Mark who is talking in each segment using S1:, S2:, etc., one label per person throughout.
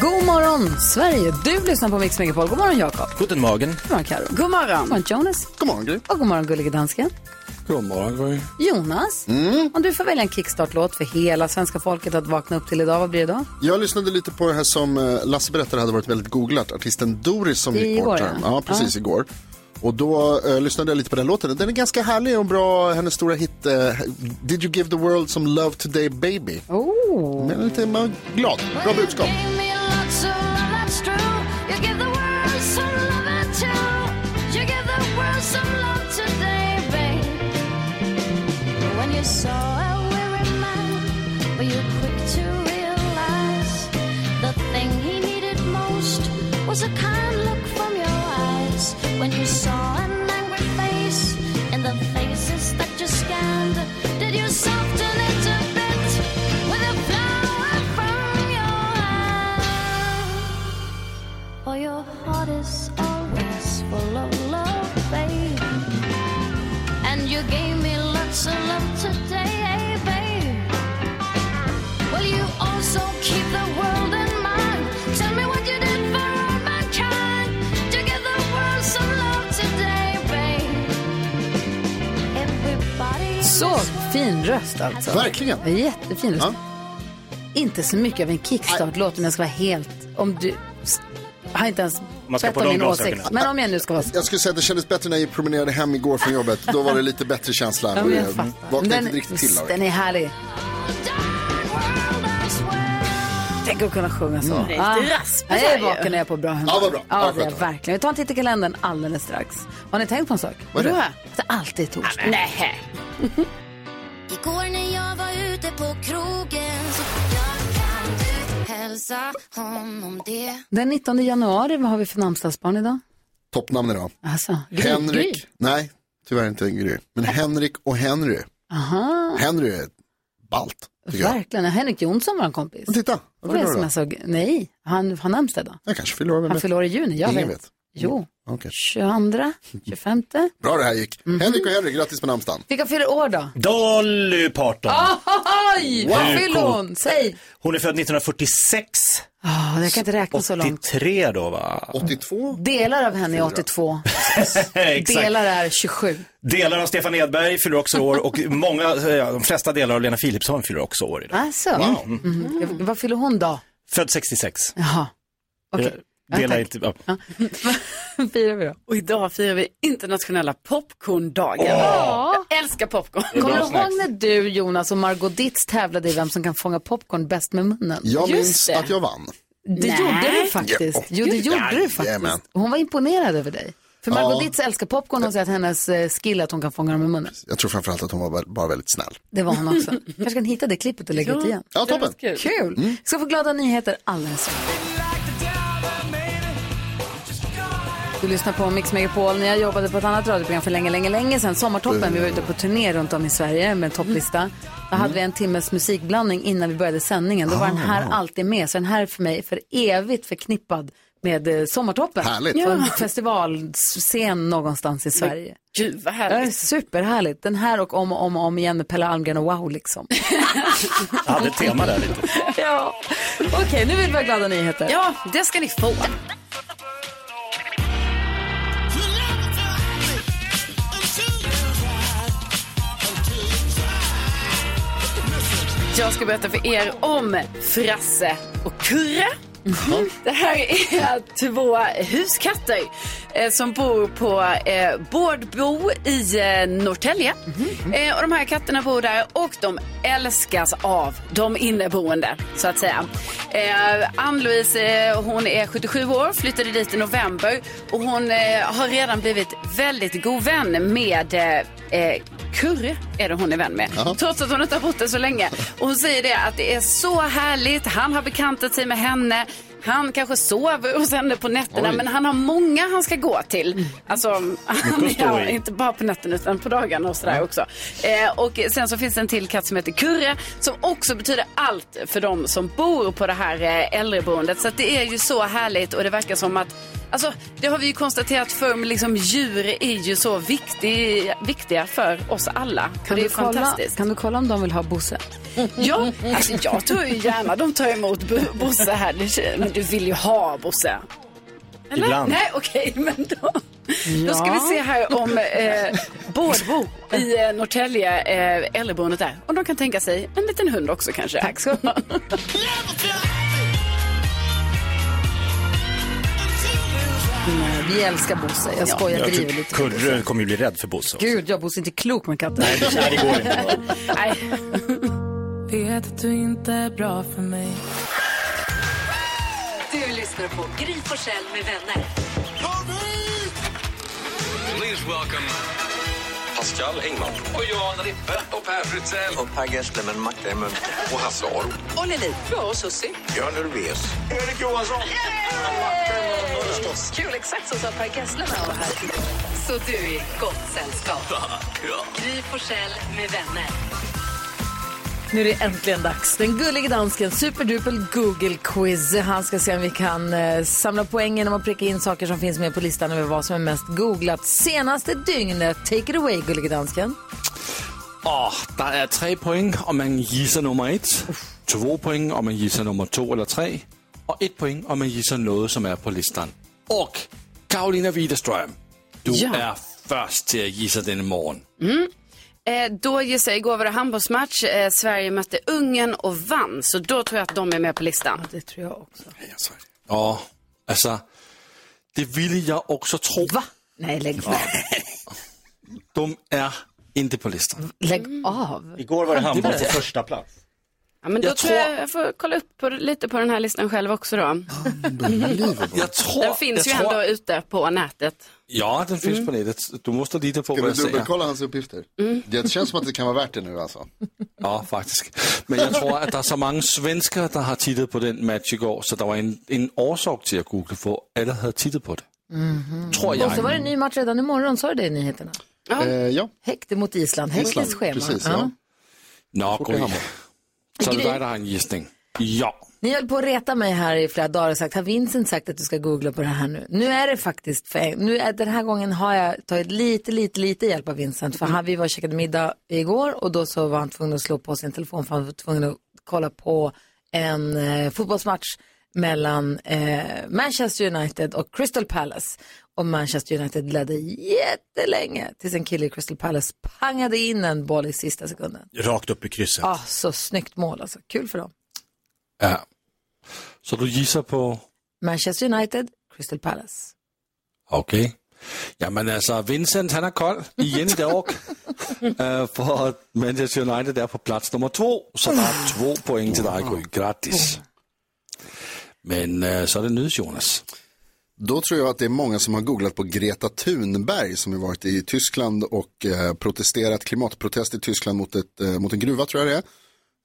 S1: God morgon, Sverige! Du lyssnar på Mix Megapol. God morgon, Jakob.
S2: Guten Morgen.
S1: God morgon, Karo. God morgon. God morgon, Jonas. God morgon, Gry. Och god morgon, gullige dansken.
S3: God morgon, Gry.
S1: Jonas, om du får välja en kickstart-låt för hela svenska folket att vakna upp till idag, vad blir det då?
S4: Jag lyssnade lite på det här som eh, Lasse berättade hade varit väldigt googlat. Artisten Doris som
S1: Det är
S4: gick
S1: igår,
S4: bort. här.
S1: ja.
S4: Ja, precis igår. Och då eh, lyssnade jag lite på den låten. Den är ganska härlig och bra. Hennes stora hit eh, Did you give the world some love today baby?
S1: Oh.
S4: Men lite man, glad. Bra budskap.
S5: Was a kind look from your eyes when you saw an angry face in the faces that you scanned. Did you soften it a bit with a flower from your eye? For your heart is always full of love, babe. And you gave me lots of love today, eh, babe. Will you also keep the world in mind? Tell me what you did for all mankind to give the world some love today, babe. Everybody. in
S1: Så
S5: this world
S1: fin röst alltså.
S4: Verkligen.
S1: En Jättefin röst. Inte så mycket av en kickstart-låt om jag ska vara helt... Om du... Jag har inte ens
S2: Man ska
S1: bett
S2: på
S1: om
S2: de
S1: min
S2: glasögonen.
S1: åsikt. Men om jag nu ska vara...
S4: Jag skulle säga att det kändes bättre när jag promenerade hem igår från jobbet. Då var det lite bättre känsla.
S1: Ja, men jag
S4: Eh,
S1: fattar.
S4: Vaknade
S1: Den,
S4: inte riktigt till av det.
S1: den är härlig. Tänk att kunna sjunga så.
S6: Det är
S1: Ah,
S6: lite rasp på
S1: jag är
S6: Sverige.
S1: vaken när jag är på bra humör.
S4: Mm. Ja, vad bra. Ja,
S1: Ja, det är jag
S4: skönt att höra.
S1: verkligen. Vi tar en titt i kalendern alldeles strax. Har ni tänkt på en sak?
S4: Vad är det?
S1: Att det alltid är torsdag.
S6: Nej.
S5: Igår när jag var ute på krogen så jag kan du hälsa honom det.
S1: Den 19 januari, vad har vi för namnsdagsbarn idag?
S4: Toppnamn idag.
S1: Alltså, Gry- Gry.
S4: Henrik. Nej, tyvärr inte Gry. Men Henrik och Henry.
S1: Aha,
S4: Henry är ballt, tycker jag.
S1: verkligen. Henrik Jonsson, vår kompis.
S4: Men titta, vad
S1: Och
S4: fyller du då?
S1: sms och, nej, han har namnsdag idag.
S4: Jag kanske fyller år, vem
S1: Han
S4: vet?
S1: fyller år i juni, jag
S4: Ingen
S1: vet.
S4: vet.
S1: Jo,
S4: Okej.
S1: 22, 25.
S4: Bra det här gick.
S1: Mhm.
S4: Henrik och Henrik, grattis på namnsdagen.
S1: Vilka fyller år då?
S2: Dolly Parton.
S1: Ah, Oj, vad
S2: Hur
S1: fyller
S2: coolt.
S1: hon? Säg.
S2: Hon är född 1946.
S1: Ah, jag kan inte räkna så långt.
S2: 83 då va?
S4: 82?
S1: Delar av henne är 82,
S2: Exakt.
S1: delar är 27.
S2: Delar av Stefan Edberg fyller också år och många, eh, de flesta delar av Lena Philipsson fyller också år idag.
S1: Alltså,
S2: Wow.
S1: mm. vad fyller hon då?
S2: Född 66.
S1: Jaha, okej.
S2: Eh, Delar
S1: tack.
S2: inte, ja.
S1: Firar vi då.
S6: Och idag firar vi internationella popcorndagen. Jag älskar popcorn.
S1: Kommer du ihåg när du, Jonas och Margot Ditz tävlade i vem som kan fånga popcorn bäst med munnen?
S4: Jag
S6: Just
S4: minns
S6: det.
S4: att jag vann.
S1: Det
S6: Nej.
S1: gjorde du faktiskt. Jo, det gjorde du
S4: Jajamän.
S1: faktiskt. Hon var imponerad över dig. För Margot
S4: Ja.
S1: Ditz älskar popcorn och säger att hennes eh, skill är att hon kan fånga dem med munnen.
S4: Jag tror framförallt att hon var bara väldigt snäll.
S1: Det var hon också. kanske kan hitta det klippet och lägga ut igen.
S4: Ja, toppen. Mm.
S1: Kul! Ska få glada nyheter alldeles strax. Du lyssnar på Mix Megapol. När jag jobbade på ett annat radioprogram för länge, länge, länge sedan, Sommartoppen, vi var ute på turné runt om i Sverige med topplista.
S4: Mm.
S1: Då hade vi en timmes musikblandning innan vi började sändningen. Då var den här
S4: Ah.
S1: alltid med, så den här är för mig för evigt förknippad med eh, Sommartoppen.
S4: Härligt.
S1: På en festivalscen någonstans i Sverige.
S6: Gud vad
S1: Det är
S6: härligt.
S1: superhärligt. Den här och om och om och om igen med Pelle Almgren och Wow liksom.
S2: Jag hade ett tema där lite.
S1: ja. Okej, nu vill vi ha glada nyheter.
S6: Ja, det ska ni få. Jag ska berätta för er om Frasse och Kurre.
S1: Mm.
S6: Det här är två huskatter eh, som bor på eh, Bårdbo i eh, Norrtälje. Eh, och de här katterna bor där och de älskas av de inneboende, så att säga. Eh, Ann-Louise, eh, hon är 77 år, flyttade dit i november och hon eh, har redan blivit väldigt god vän med eh, eh, Kurre är det hon är vän med. Trots att hon inte har bott där så länge. Och hon säger det att det är så härligt. Han har bekantat sig med henne. Han kanske sover hos henne på nätterna
S4: Oj.
S6: men han har många han ska gå till. Alltså, han,
S2: Mm. att stå
S6: ja,
S2: i.
S6: inte bara på nätterna utan på dagarna och sådär också. Eh, och sen så finns det en till katt som heter Kurre som också betyder allt för de som bor på det här eh, äldreboendet. Så att det är ju så härligt och det verkar som att Alltså, det har vi ju konstaterat förr, men liksom djur är ju så viktig, viktiga för oss alla.
S1: Kan
S6: och det är
S1: du, kolla,
S6: fantastiskt.
S1: kan du kolla om de vill ha Bosse?
S6: Ja, alltså, jag tror ju gärna de tar emot Bo- Bosse här. Det- Men du vill ju ha Bosse. Eller?
S2: Ibland.
S6: Nej, okej, men då, då ska vi se här om eh, Bårdbo i eh, Norrtälje, eh, äldreboendet där, om de kan tänka sig en liten hund också kanske. Tack ska du ha.
S1: Nej, vi älskar Bosse. Jag skojar,
S2: Jag
S1: driver
S2: tror
S1: lite.
S2: typ Kurre kommer ju bli rädd för Bosse. också.
S1: Gud, jag Bosse är inte klok med katter.
S2: Nej, det går inte.
S6: Nej.
S7: Vet att du inte är bra för mig.
S8: Du lyssnar på Gry Forssell med vänner.
S3: Please welcome Pascal Engman. Och Johan Rippe. Och Per Fritzell. Och Per Gessle med macka i munnen. Och Hasse Aro.
S8: Och Lili. Ja, och Susie.
S3: Björn Ulvaeus. Erik Johansson.
S8: Kul, exakt så sa Per Gessle när han var här. Så du är i gott sällskap. Gry Forssell med vänner.
S1: Nu är det äntligen dags. Den gullige dansken, superdupel Google Quiz. Han ska se om vi kan eh, samla poäng genom att pricka in saker som finns med på listan över vad som är mest googlat senaste dygnet. Take it away, gullige dansken.
S9: Og der er tre point, om man gisser nummer et. To point, om man gisser nummer to eller tre. Og et point, om man gisser noget, som er på listen. Og Karolina Widerstrøm, du
S6: Ja.
S9: er først til at gisse denne morgen.
S6: Eh, då gissar jag, igår var det handbollsmatch. Eh, Sverige mötte Ungern och vann, så då tror jag att de är med på listan.
S1: Det tror jeg også.
S9: Og altså, det ville jeg også tro.
S1: Hva? Nej, lägg av.
S9: De er ikke på listen.
S1: Lägg av.
S2: Igår var det handboll på första plats.
S6: Mm. Ja, men då
S9: Jag
S6: tror
S9: tror-
S6: jag jag får kolla upp på, lite på den här listan själv också då.
S9: Jeg tror,
S6: Den finns ju
S9: jeg tror,
S6: ändå ute på nätet.
S9: Ja, den finns på nettet. Du måste lita på
S4: Ska
S9: vad
S4: du
S9: jag säger.
S4: dubbelkolla hans uppgifter?
S1: Mm.
S4: Det känns som att det kan vara värt det nu alltså.
S9: Ja, faktisk. Men jeg tror, at der er så mange svenskere, der har tittet på den match i går, så der var en, en årsag til at Google få, alle havde tittet på det.
S5: Mm-hmm.
S9: Tror
S1: Och så var
S9: jeg.
S1: det en ny match redan imorgon, sa du det i nyheterna?
S6: Ja.
S4: Eh, ja,
S1: Häkte mot Island, Häckes
S4: Island.
S1: schema.
S4: Precis, ja.
S9: Nå, Gry.
S4: Hammer.
S9: Så er det dig, der har en gissning. Ja.
S1: Ni höll på att reta mig här i flera dagar och sagt, har Vincent sagt att du ska googla på det här nu? Nu är det faktiskt, för, nu är, den här gången har jag tagit lite, lite, lite hjälp av Vincent. För han, vi var och käkade middag igår och då så var han tvungen att slå på sin telefon för han var tvungen att kolla på en eh, fotbollsmatch mellan eh, Manchester United och Crystal Palace. Och Manchester United ledde jättelänge tills en kille i Crystal Palace pangade in en boll i sista sekunden.
S2: Rakt upp i krysset.
S1: Ah, så snyggt mål alltså, kul för dem.
S9: ja. Så du gisser på...
S1: Manchester United, Crystal Palace.
S9: Okay. Jamen altså, Vincent han er kold igen i dag. Øh, for Manchester United er på plads nummer to, så der er to point til dig, Gry. Gratis. Men øh, så er det nydes, Jonas.
S4: Då tror jag att det är många som har googlat på Greta Thunberg som har varit i Tyskland och eh, protesterat, klimatprotest i Tyskland mot, ett, eh, mot en gruva tror jag det är.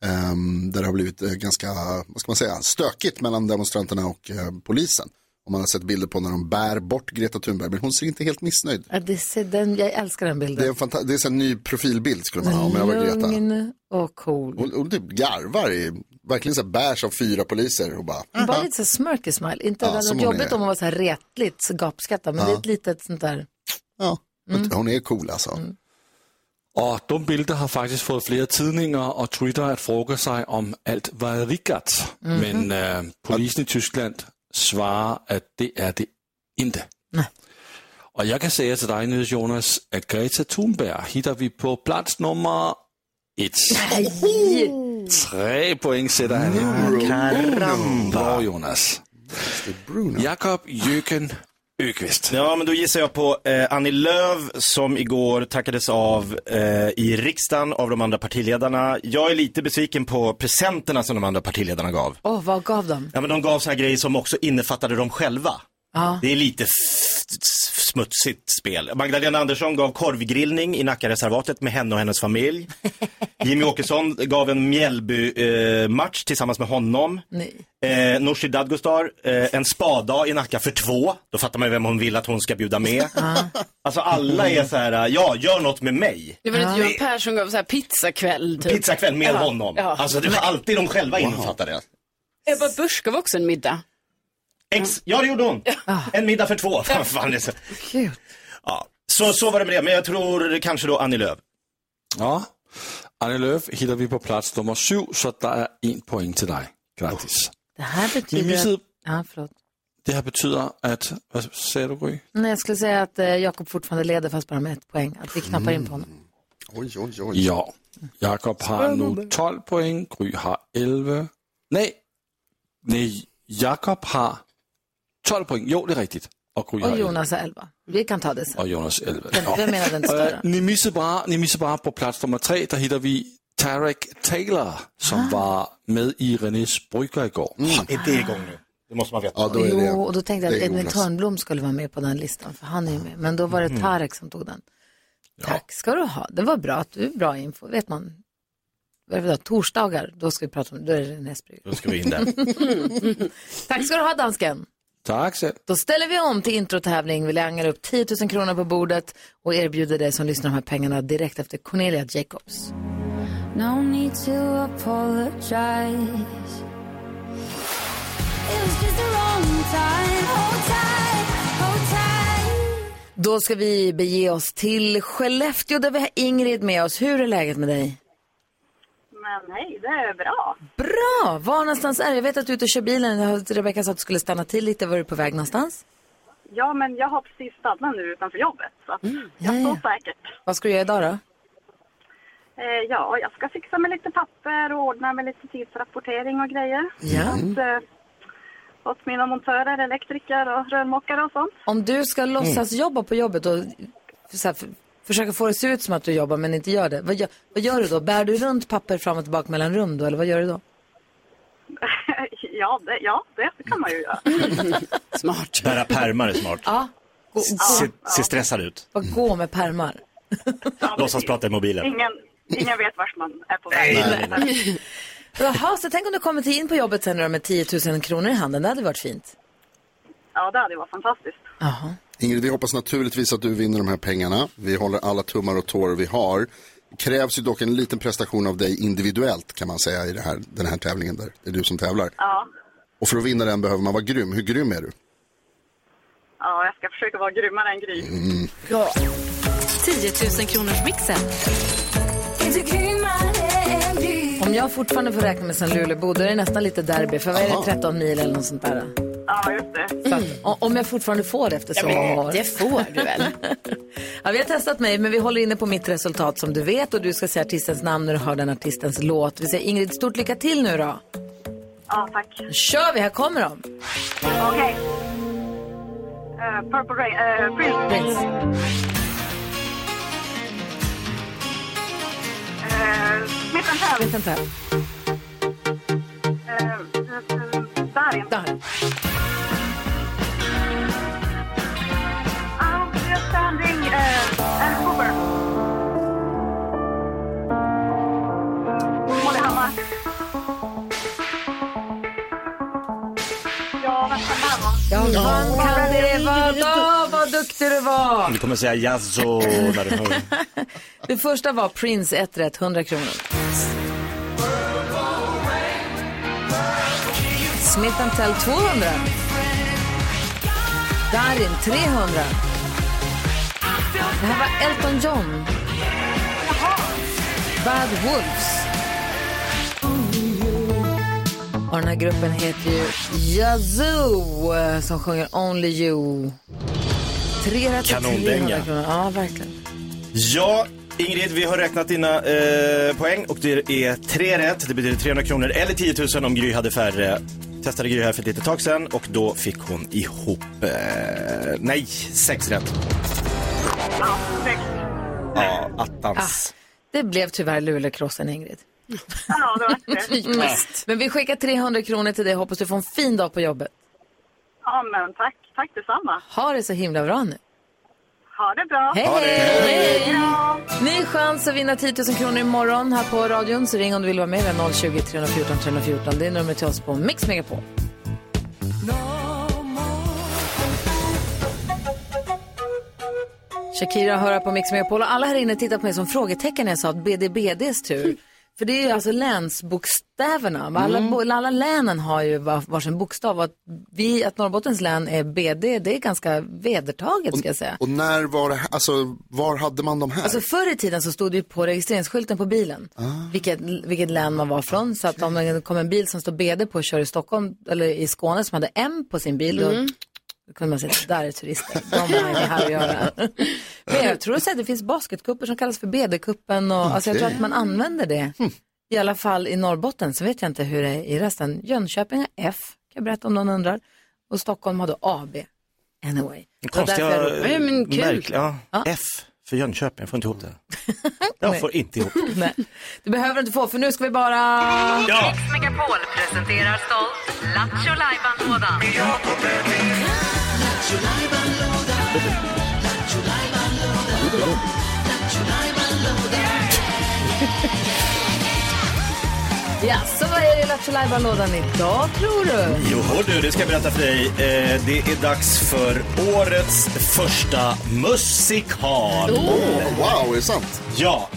S4: Ehm, där det har blivit eh, ganska, vad ska man säga, stökigt mellan demonstranterna och eh, polisen. Och man har sett bilder på när de bär bort Greta Thunberg, men hon ser inte helt missnöjd.
S1: Ja, det ser den, jag älskar den
S4: Det är
S1: bilden.
S4: en, fanta- det är så en ny profilbild skulle man ha om jag var Greta.
S1: Lugn och cool.
S4: Hon, hon typ garvar, i, verkligen så här bärs av fyra poliser och bara,
S1: Bara lite så här smirky smile. Inte
S4: Ja,
S1: ja, det hade
S4: som
S1: varit
S4: hon
S1: jobbigt
S4: är.
S1: om hon var så här retligt så gapskattar, men det är ett litet sånt där.
S4: ja,
S1: Mm.
S4: hon är cool alltså.
S9: Og dumme billeder har faktisk fået flere tidninger og Twitter at fråga sig om alt var rigtigt. Men øh, polisen i Tyskland svarer, at det er det ikke. Og jeg kan sige til dig, Niels Jonas, at Greta Thunberg hitter vi på plads nummer et.
S1: Nej,
S9: Tre point sætter han. Karamba. Jonas. Jakob Jøken Økvist.
S2: Ja, men då gissar jag på eh, Annie Lööf som igår tackades av eh, i riksdagen av de andra partiledarna. Jag är lite besviken på presenterna som de andra partiledarna gav.
S1: Åh, vad gav de?
S2: Ja, men de gav såna här grejer som också innefattade dem själva.
S1: Ja.
S2: Det är lite f- f- smutsigt spel. Magdalena Andersson gav korvgrillning i Nackareservatet med henne och hennes familj. Jimmy Åkesson gav en Mjällby-match tillsammans med honom.
S10: Nej.
S2: Eh, Nooshi Dadgostar, eh, en spadag i Nacka för två. Då fattar man ju vem hon vill att hon ska bjuda med. alltså alla är så här, ja, gör något med mig.
S6: Det var inte Göran Persson gav så här pizzakväll. Typ.
S2: Pizzakväll med
S6: Ja.
S2: honom.
S6: Ja.
S2: Alltså det var alltid de själva infattade.
S6: Ebba Busch gav också en middag.
S2: Ex, ja, det gjorde hon. En middag för två. Fan, fan, det är så. Ja. Så, så var det med det, men jag tror kanske då Annie Lööf.
S9: Ja. Anne Lööf hittar vi på plats nummer sju, så där är en poäng till dig. Grattis.
S1: Det här
S9: Ni
S1: betyder...
S9: missade-
S1: Att... Ja, förlåt.
S9: Det här betyder att, vad säger du Gry?
S1: Nej, jag skulle säga att eh, Jakob fortfarande leder fast bara med ett poäng. Att vi knappar in på honom.
S4: Oj, oj, oj.
S9: Ja. Jakob har nu
S1: Spännande.
S9: 12 poäng, Gry har 11. Nej, nej, Jakob har 12 poäng. Jo, det är riktigt. Och
S4: Mm.
S9: Gry har
S1: Och
S9: 11.
S1: Jonas har elva. Vi kan ta det sen.
S9: Och Jonas 11.
S1: Vem- vem menar den större?
S9: Eh, Ni missade bara, ni missade bara på plats nummer tre, där hittar vi Tarek Taylor, som
S1: Ah.
S9: var med i Renés brygga igår.
S2: Är Mm. det igång nu? Det måste man veta.
S9: Ja,
S1: Jo, och då tänkte jag att Edvin Törnblom skulle vara med på den listan, för han är ju med. Men då var det
S9: Mm.
S1: Tarek som tog den. Tack ska du ha. Det var bra att du bra info. Vet man, vad är det då? torsdagar, då ska vi prata om, då är det Näsby.
S2: Då ska vi in där.
S1: Tack ska du ha, dansken.
S9: Tack så
S1: Då ställer vi om till introtävling. Vi langar upp 10 000 kronor på bordet och erbjuder dig som lyssnar de här pengarna direkt efter Cornelia Jacobs.
S5: No need to apologize. It was just the wrong time. Hold tight, hold tight.
S1: Då ska vi bege oss till Skellefteå där vi har Ingrid med oss. Hur är läget med dig?
S11: Men hej, det är bra.
S1: Bra! Var någonstans är du? Jag vet att du är ute och kör bilen. Jag hörde Rebecka sa att du skulle stanna till lite. Var är du på väg någonstans?
S11: Ja, men jag har precis stannat nu utanför jobbet. Så att
S1: Mm.
S11: jag står säkert.
S1: Vad ska du göra idag
S2: Mm.
S1: då?
S11: Eh, ja, jag ska fixa med lite papper och ordna med lite tidsrapportering och grejer.
S1: Ja.
S11: Att, eh, åt mina montörer, elektriker och rörmokare och sånt. Mm.
S1: Om du ska låtsas jobba på jobbet och så här, för, försöka få det att se ut som att du jobbar men inte gör det. Vad gör, vad gör du då? Bär du runt papper fram och tillbaka mellan rum då? Eller vad gör du då?
S11: ja, det, ja, det kan man ju göra.
S2: Smart. Bära pärmar är smart.
S1: Ja. Gå,
S2: Se,
S1: gå,
S2: se stressad ut.
S1: bara gå med pärmar.
S2: Låtsas prata i mobilen.
S11: Ingen, ingen vet vart man är på väg.
S2: Nej, nej,
S1: Jaha, så tänk om du kommer till in på jobbet sen då med 10 000 kronor i handen. Det hade varit fint.
S11: Ja, det hade ju varit fantastiskt.
S4: Ingrid, vi hoppas naturligtvis att du vinner de här pengarna. Vi håller alla tummar och tår vi har. Det krävs ju dock en liten prestation av dig individuellt kan man säga i det här, den här tävlingen där det är du som tävlar.
S11: Ja,
S4: Och för att vinna den behöver man vara grym. Hur grym är du?
S11: ja, jag ska försöka vara grymmare än Gry.
S4: Mm.
S1: Bra.
S8: 10 000 kronors mixen.
S1: Om jag fortfarande får räkna med sen Luleåbo, då är det nästan lite derby. För vad är
S6: Aha.
S1: det, 13 mil eller något sånt där?
S11: Ja, just det.
S1: Så att, o- om jag fortfarande får det efter så
S6: Mm. Ja, men
S1: många år.
S6: det får du väl?
S1: ja, vi har testat mig, men vi håller inne på mitt resultat som du vet. Och du ska säga artistens namn när du hör den artistens låt. Vi säger Ingrid, stort lycka till nu då.
S11: Ja, tack.
S1: Nu kör vi, här kommer de.
S11: Okej. Eh, Purple Rain. eh, Prince. Eh, Smith and Tell.
S1: Smith and Tell.
S11: Eh, eh, Darin.
S1: Darin.
S11: Standing, eh, eh, Cooper. Molly Hammar. Ja, vad fan var det?
S1: Ja, vad kan det vara då? Vad duktig du var!
S2: Du kommer säga jazzo när du hör.
S1: Det första var Prince, ett rätt, 100 kronor. Smith and Tell 200. Darin 300. Det här var Elton John. Bad Wolves. Och den här gruppen heter ju Yazoo eh, som sjunger Only You. Tre rätt och
S2: Kanondänga.
S1: 300 kronor. Ja, verkligen.
S2: Ja, Ingrid, vi har räknat dina eh, poäng och det är tre rätt. Det betyder 300 kronor eller 10 000 om Gry hade färre. Testade Gry här för ett litet tag sedan och då fick hon ihop, eh, nej, sex rätt. Ja, attans.
S1: Det blev tyvärr Luleåkrossen, Ingrid.
S11: Ja, det var det.
S1: Mm. Men vi skickar 300 kronor till dig. Hoppas du får en fin dag på jobbet.
S11: Ja, men tack. Tack detsamma.
S1: Ha det så himla bra nu.
S11: Ha det bra.
S1: Hej,
S11: Ha det.
S1: hej!
S11: Hej då.
S1: Ny chans att vinna 10 000 kronor imorgon här på radion. Så ring om du vill vara med. 020 314 314. Det är numret till oss på Mix Megapol. Shakira hör här på Mix Megapol och alla här inne tittar på mig som frågetecken när jag sa att BDBDs tur. För det är ju alltså länsbokstäverna. Va? Alla, bo- alla länen har ju var- varsin bokstav. Och Att, vi, att Norrbottens län är BD, det är ganska vedertaget ska jag säga.
S4: Och när var det, här- alltså var hade man de här? Ah.
S1: Alltså förr i tiden så stod det ju på registreringsskylten på bilen vilket, vilket län man var från. Så att om det kom en bil som stod BD på och kör i Stockholm eller i Skåne som hade M på sin bil,
S6: Mm.
S1: då kunde man säga där är turister. De har inte här att göra. Men jag tror att det finns basketcuper som kallas för BD-cupen och alltså jag tror
S6: Okej.
S1: att man använder det. I alla fall i Norrbotten, så vet jag inte hur det är i resten. Jönköping har F, kan jag berätta om någon undrar. Och Stockholm har då AB. Ah, Anyway. Det var
S2: Konstiga,
S1: därför jag
S2: eh,
S1: ropade.
S2: märkliga- ja, F för Jönköping, jag får inte ihop det. Jag får inte ihop det.
S1: Nej, det behöver du inte få för nu ska vi bara...
S2: Ja.
S8: Mix Megapol presenterar stolt Lattjo Lajban-lådan.
S1: Ja, så vad är det i Lattjo Lajban-lådan idag tror du?
S2: Jo, du, det ska jag berätta för dig. Eh, det är dags för årets första musikal.
S4: Åh, Oh, wow, är det sant?
S2: Ja.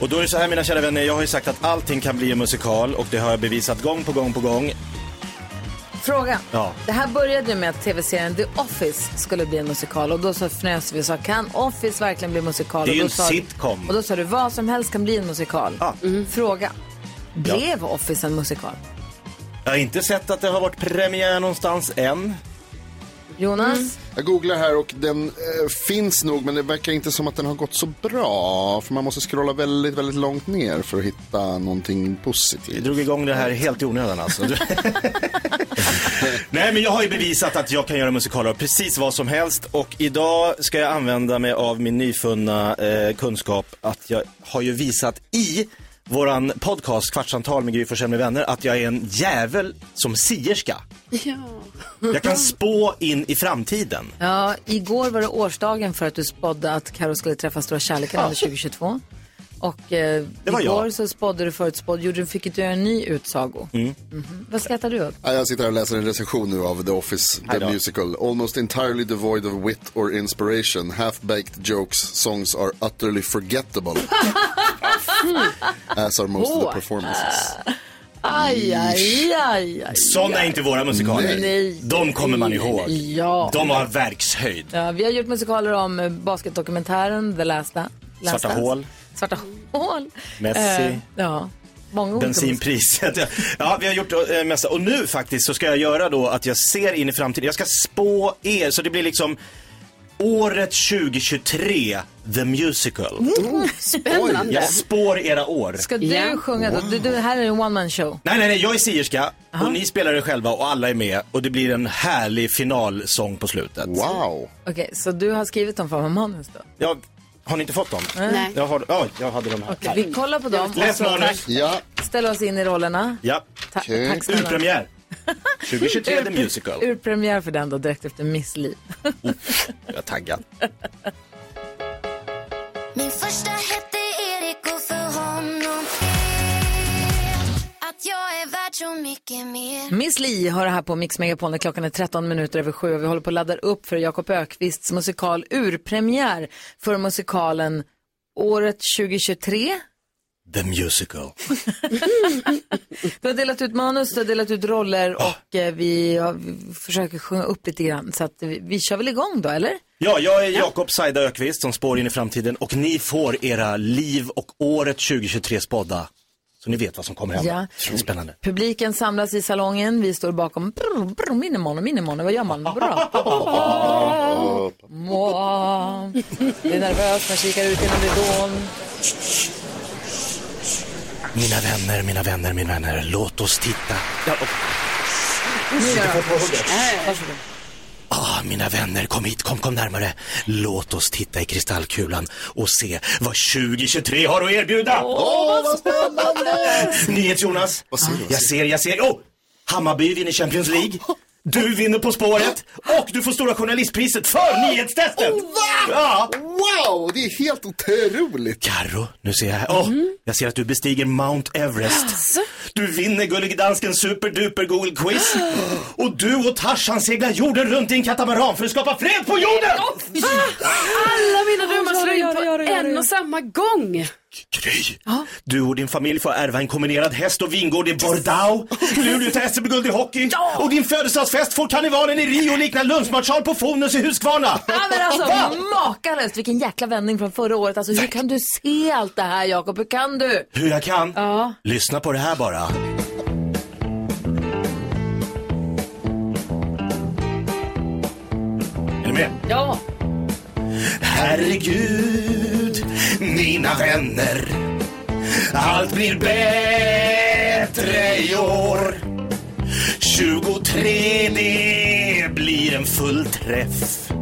S2: Och då är det så här mina kära vänner, jag har ju sagt att allting kan bli en musikal och det har jag bevisat gång på gång på gång.
S1: Fråga.
S2: Ja.
S1: Det här började ju med att tv-serien The Office skulle bli en musikal och då så fnös vi och sa kan Office verkligen bli musikal?
S2: Det är
S1: och
S2: ju
S1: då
S4: Alltså,
S2: en
S1: sa,
S2: sitcom.
S1: Och då sa du vad som helst kan bli en musikal. Mm. Fråga. Blev Office en musikal?
S2: Jag har inte sett att det har varit premiär någonstans än.
S1: Jonas?
S4: Jag googlar här och den eh, finns nog men det verkar inte som att den har gått så bra. För man måste scrolla väldigt, väldigt långt ner för att hitta någonting positivt. Mm. Vi
S2: drog igång det här helt i onödan alltså. Nej, men jag har ju bevisat att jag kan göra musikaler av precis vad som helst och idag ska jag använda mig av min nyfunna eh, kunskap att jag har ju visat i våran podcast Kvartsamtal med Gry Forssell med vänner att jag är en jävel som sierska.
S6: Ja.
S2: Jag kan spå in i framtiden.
S1: Ja, igår var det årsdagen för att du spådde att Karo skulle träffa Stora kärleken
S2: Ja.
S1: under 2022. Och eh,
S2: Det var jag. Mm.
S1: igår så spådde du förutspådd, gjorde, fick du göra en ny utsago. Mhm. Vad skrattar du åt?
S4: Ja, Jag sitter här och läser en recension nu av The Office, The Musical. Almost entirely devoid of wit or inspiration. Half-baked jokes, songs are utterly forgettable.
S5: Mm.
S4: As are most of the performances.
S1: Aj, aj, aj, aj.
S2: Sådana är inte våra musikaler.
S1: Nej.
S2: De kommer man ihåg.
S1: Ja.
S2: De har verkshöjd.
S1: Ja, vi har gjort musikaler om eh, basketdokumentären The Last Dan- Last
S2: Svarta
S1: Dance.
S2: hål.
S1: Svarta hål.
S2: Messi.
S1: Eh, ja, många olika
S2: Bensinpriset. Ja, vi har gjort eh, mesta. Och nu faktiskt så ska jag göra då att jag ser in i framtiden. Jag ska spå er, så det blir liksom året 2023, The Musical.
S1: Mm. Spännande.
S2: Jag spår era år.
S1: musik. Ska du sjunga då? Du, du, här är en one man show.
S2: Nej, nej, nej, jag är sierska och ni spelar er själva och alla är med och det blir en härlig finalsång på slutet.
S4: Wow.
S1: Okej, så du har skrivit dem för mig manus då?
S2: Ja, har ni inte fått dem?
S1: Nej.
S2: Jag, har, ja, jag hade dem här.
S1: Okej, vi kollar på dem.
S2: Läs manus.
S4: Ja.
S1: Ställer oss in i rollerna.
S2: Ja.
S1: Ta- Okej. tack snälla.
S2: Urpremiär. 2023 The Musical.
S1: Ur premiär för den då, direkt efter Miss Li.
S2: Jag är taggad.
S5: Min första hette Erik och för honom att jag är värd så mycket mer
S1: Miss Li har det här på Mix Megapol när klockan är 13 minuter över sju och vi håller på att ladda upp för Jakob Ökvists musikal urpremiär för musikalen året 2023.
S2: The Musical.
S1: Du har delat ut manus, du har delat ut roller och eh, vi, ja, vi försöker sjunga upp lite grann så att vi, vi kör väl igång då, eller?
S2: Ja, jag är Jakob Saida Ökvist som spår in i framtiden och ni får era liv och året 2023 spådda. Så ni vet vad som kommer hända. Det är Spännande.
S1: Publiken samlas i salongen, vi står bakom. Brr, brr, minimono, minimono, vad gör man? Bra. Mwah. Det är nervöst, man kikar ut genom ridån.
S2: Mina vänner, mina vänner, mina vänner, låt oss titta. Ja, och...
S1: Varsågod.
S2: Ah, mina vänner, kom hit, kom, kom närmare. Låt oss titta i kristallkulan och se vad 2023 har att erbjuda.
S5: Åh, vad
S2: Nyhets-Jonas, jag ser, jag ser. Oh! Hammarby vinner Champions League. Du vinner På spåret och du får Stora Journalistpriset för nyhetstestet!
S5: Oh,
S2: Ja.
S4: Wow, det är helt otroligt!
S2: Carro, nu ser jag här. Åh, Jag ser att du bestiger Mount Everest. Du vinner Gullig Danskens superduper Google Quiz. Och du och Tarzan seglar jorden runt i en katamaran för att skapa fred på jorden!
S6: Alla mina drömmar slår in på en och samma gång.
S2: Du och din familj får ärva en kombinerad häst och vingård i Bordeaux. Luleå tar SM-guld i hockey. Och din födelsedagsfest får karnevalen i Rio likna lunchmatchal på Fonus i Huskvarna.
S10: Ja, men
S2: Va?
S10: alltså makalöst, vilken jäkla vändning från förra året. Alltså hur kan du se allt det här Jakob? Hur kan du?
S2: Hur jag kan?
S10: Ja.
S2: Lyssna på det här bara. Är ni med?
S6: Ja.
S2: Herregud, mina vänner. Allt blir bättre i år. 23, det blir en full träff.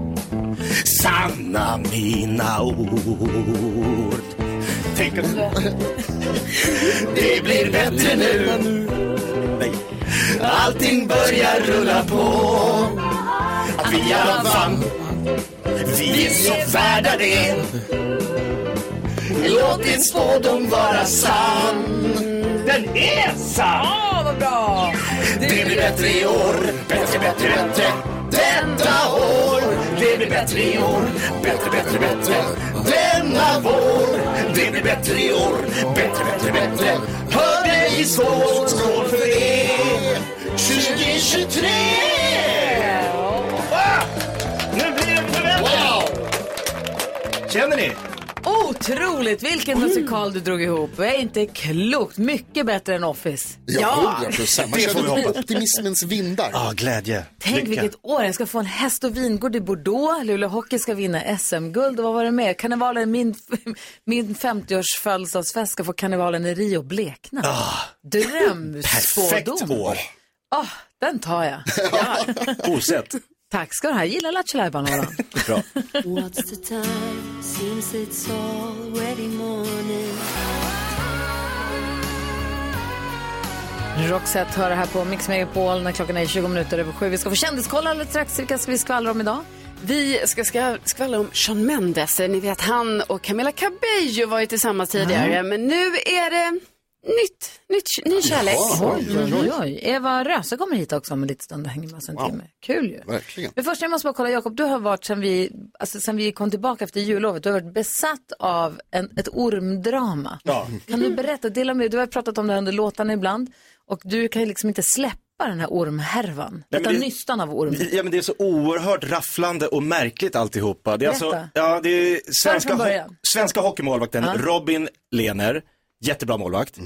S2: Sanna mina ord. Tänk att... Det blir bättre nu. Nej. Allting börjar rulla på. Att vi i alla fall, vi är så värda det. Låt din spådom vara sann. Den är sann!
S10: Åh, vad bra!
S2: Det blir bättre i år. Bättre, bättre, bättre. Detta år. Det blir bättre i år. Bättre, bättre, bättre. Denna vår. Det blir bättre i år. Bättre, bättre, bättre. Hör dig i skål. Skål för det. 2023! Ah! Nu blir det förväntningar. Känner ni?
S10: Otroligt, vilken musikal du drog ihop. Det är inte klokt. Mycket bättre än Office.
S4: Ja, 100 procent. Man
S2: Det får vi
S4: känner
S2: hoppas.
S4: optimismens vindar.
S2: Ja, glädje.
S10: Tänk vilket år. Jag ska få en häst och vingård i Bordeaux. Luleå Hockey ska vinna SM-guld. Och vad var det mer? Karnevalen, min, min 50-års födelsedagsfest ska få karnevalen i Rio blekna.
S2: Perfekt
S10: Drömspådom.
S2: år.
S10: Åh, den tar jag.
S2: Osett.
S10: Tack ska du ha. Jag gillar Lattjo Lajban
S2: Bra.
S12: What's the time? Seems it's already morning.
S1: Roxette hör det här på Mix Megapol när klockan är 20 minuter över sju. Vi ska få kändiskoll alldeles strax. Vilka ska vi skvallra om idag?
S6: Vi ska, ska skvallra om Sean Mendes. Ni vet han och Camilla Cabello var ju tillsammans tidigare.
S1: Ja.
S6: Men nu är det nytt, nytt ny kärlek.
S1: Oj, oj, oj, oj. Eva Röse kommer hit också om en liten stund och hänger med oss en timme. Kul ju.
S4: Verkligen.
S1: Men först jag måste bara kolla, Jakob, du har varit sen vi, alltså, sen vi kom tillbaka efter jullovet, du har varit besatt av en, ett ormdrama.
S2: Ja.
S1: Kan du berätta, dela med dig, du har ju pratat om det här under låtarna ibland och du kan ju liksom inte släppa den här ormhärvan,
S2: men
S1: utan
S2: det-
S1: nystan av orm.
S2: Ja, men det är så oerhört rafflande och märkligt alltihopa. Det är alltså,
S1: Berätta.
S2: ja, det är svenska,
S1: från
S2: ho-
S1: början.
S2: svenska hockeymålvakten
S1: Ja. Mm.
S2: Robin Lehner, jättebra målvakt,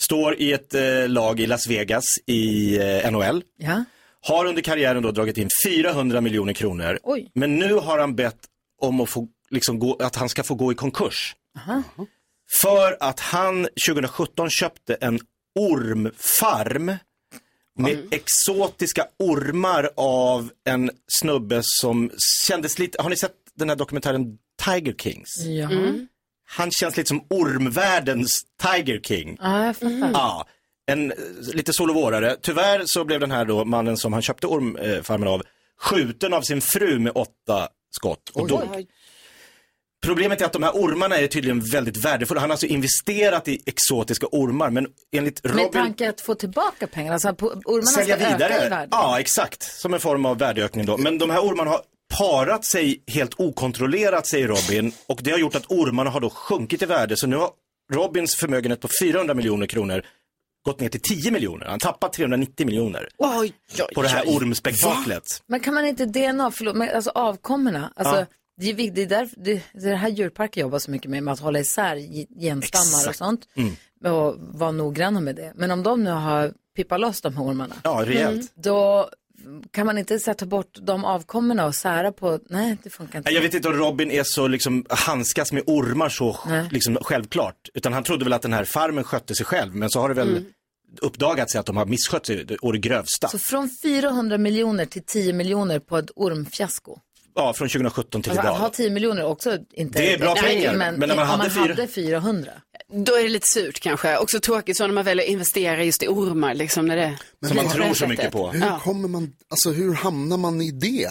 S2: står i ett eh, lag i Las Vegas i eh, NHL.
S1: Ja.
S2: Har under karriären då dragit in 400 miljoner kronor.
S1: Oj.
S2: Men nu har han bett om att, få, liksom, gå, att han ska få gå i konkurs.
S1: Aha.
S2: För att han 2017 köpte en ormfarm med exotiska ormar av en snubbe som kändes lite, har ni sett den här dokumentären Tiger Kings?
S1: Ja. Mm.
S2: Han känns lite som ormvärldens Tiger King.
S1: Ja, jag fattar.
S2: Ja, en eh, lite solovårare. Tyvärr så blev den här då mannen som han köpte ormfarmen av skjuten av sin fru med åtta skott och dog. Problemet är att de här ormarna är tydligen väldigt värdefulla. Han har alltså investerat i exotiska ormar men enligt
S1: Med
S2: Robin
S1: tanke att få tillbaka pengarna, alltså på- ormarna
S2: sälja
S1: ska öka i
S2: vidare.
S1: värde.
S2: Ja, exakt. Som en form av värdeökning då. Men de här ormarna har parat sig helt okontrollerat, säger Robin. Och det har gjort att ormarna har då sjunkit i värde. Så nu har Robins förmögenhet på 400 miljoner kronor gått ner till 10 miljoner. Han tappat 390 miljoner
S6: Oj, oj,
S2: på det här
S6: oj.
S2: ormspektaklet.
S1: Men kan man inte DNA, förlåt, men alltså avkommorna, alltså,
S2: Ja.
S1: det, är vik- det, är därför, det, det är det här djurparker jobbar så mycket med, med att hålla isär ge- genstammar och
S2: Exakt.
S1: sånt. Och vara noggranna med det. Men om de nu har pippat loss de här ormarna. Mm.
S2: Ja, rejält.
S1: Då kan man inte så här, ta bort de avkommorna och sära på, nej det funkar inte.
S2: Nej, Jag vet inte om Robin är så liksom, handskas med ormar så liksom, självklart. Utan han trodde väl att den här farmen skötte sig själv. Men så har det väl
S1: Mm.
S2: uppdagats att de har misskött sig å det grövsta.
S1: Så från 400 miljoner till 10 miljoner på ett ormfiasko.
S2: ja, från 2017 till
S1: Alltså, att
S2: idag.
S1: ha 10 miljoner är också inte...
S2: Det är bra
S1: Nej,
S2: pengar, men när man
S1: om
S2: hade
S1: man
S2: fyra-
S1: hade 400.
S6: Då är det lite surt kanske. Också tråkigt så när man väljer att investera just i ormar. Liksom, när det, på det sättet.
S4: Hur
S6: Ja.
S4: kommer man, alltså hur hamnar man i det?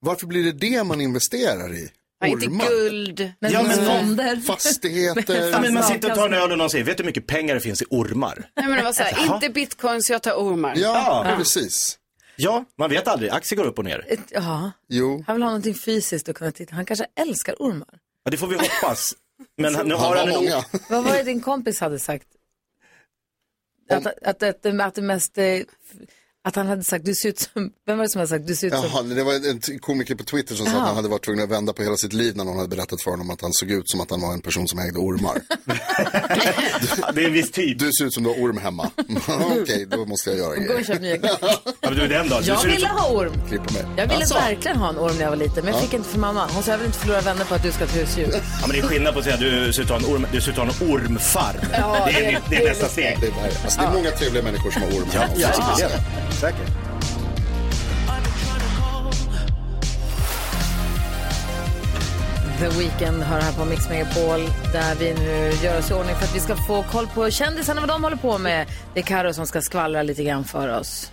S4: Varför blir det det man investerar i?
S6: Ja, inte guld.
S4: Men
S2: Ja, men-
S4: fonder. Fastigheter.
S2: Ja, men man sitter och tar en öl och någon säger, vet du hur mycket pengar det finns i ormar?
S6: Nej, men det var så här,
S2: Jaha.
S6: inte bitcoin så jag tar ormar.
S2: precis. Ja, man vet aldrig. Aktier går upp och ner.
S1: Ett, ja,
S4: Jo.
S1: han vill ha någonting fysiskt att kunna titta. Han kanske älskar ormar.
S2: Ja, det får vi hoppas. Men han- nu
S4: Han
S2: har
S4: har
S2: han en...
S4: många.
S1: Vad var det din kompis hade sagt? Att, att, att, det- att det mest... eh, Att han hade sagt, du ser ut som... Vem var det som hade sagt, du ser ut typ som...
S4: Jaha, det var en t- komiker på Twitter som sa
S1: Jaha.
S4: att han hade varit tvungen att vända på hela sitt liv när någon hade berättat för honom att han såg ut som att han var en person som ägde ormar.
S2: det är en viss typ.
S4: Du ser ut som du har orm hemma. Okej, då måste jag göra
S1: Gå
S4: grejer.
S1: och köp nya
S2: Ja, men du är den då. Du
S1: Jag
S2: ser ut
S1: ville
S2: som-
S1: ha orm.
S4: Klippa mig.
S1: Jag ville
S2: Alltså.
S1: verkligen ha en orm när jag var liten, men jag
S2: Ja.
S1: fick inte för mamma. Hon sa, jag vill inte förlora vänner på att du ska ha ett husdjur.
S2: Ja, men det är skillnad på att säga att du ser ut att ha en, orm, du ser ut att ha en ormfarm.
S1: Ja,
S2: det,
S1: det-
S2: är, det är nästa steg.
S4: Alltså, det är många trevliga människor som har orm
S2: Ja,
S4: hemma.
S2: ja,
S4: också, så
S2: ja.
S4: att säga.
S2: Säkert.
S1: The Weeknd hör här på Mix Megapol där vi nu gör oss i ordning för att vi ska få koll på kändisarna, vad de håller på med. Det är Karo som ska skvallra lite grann för oss.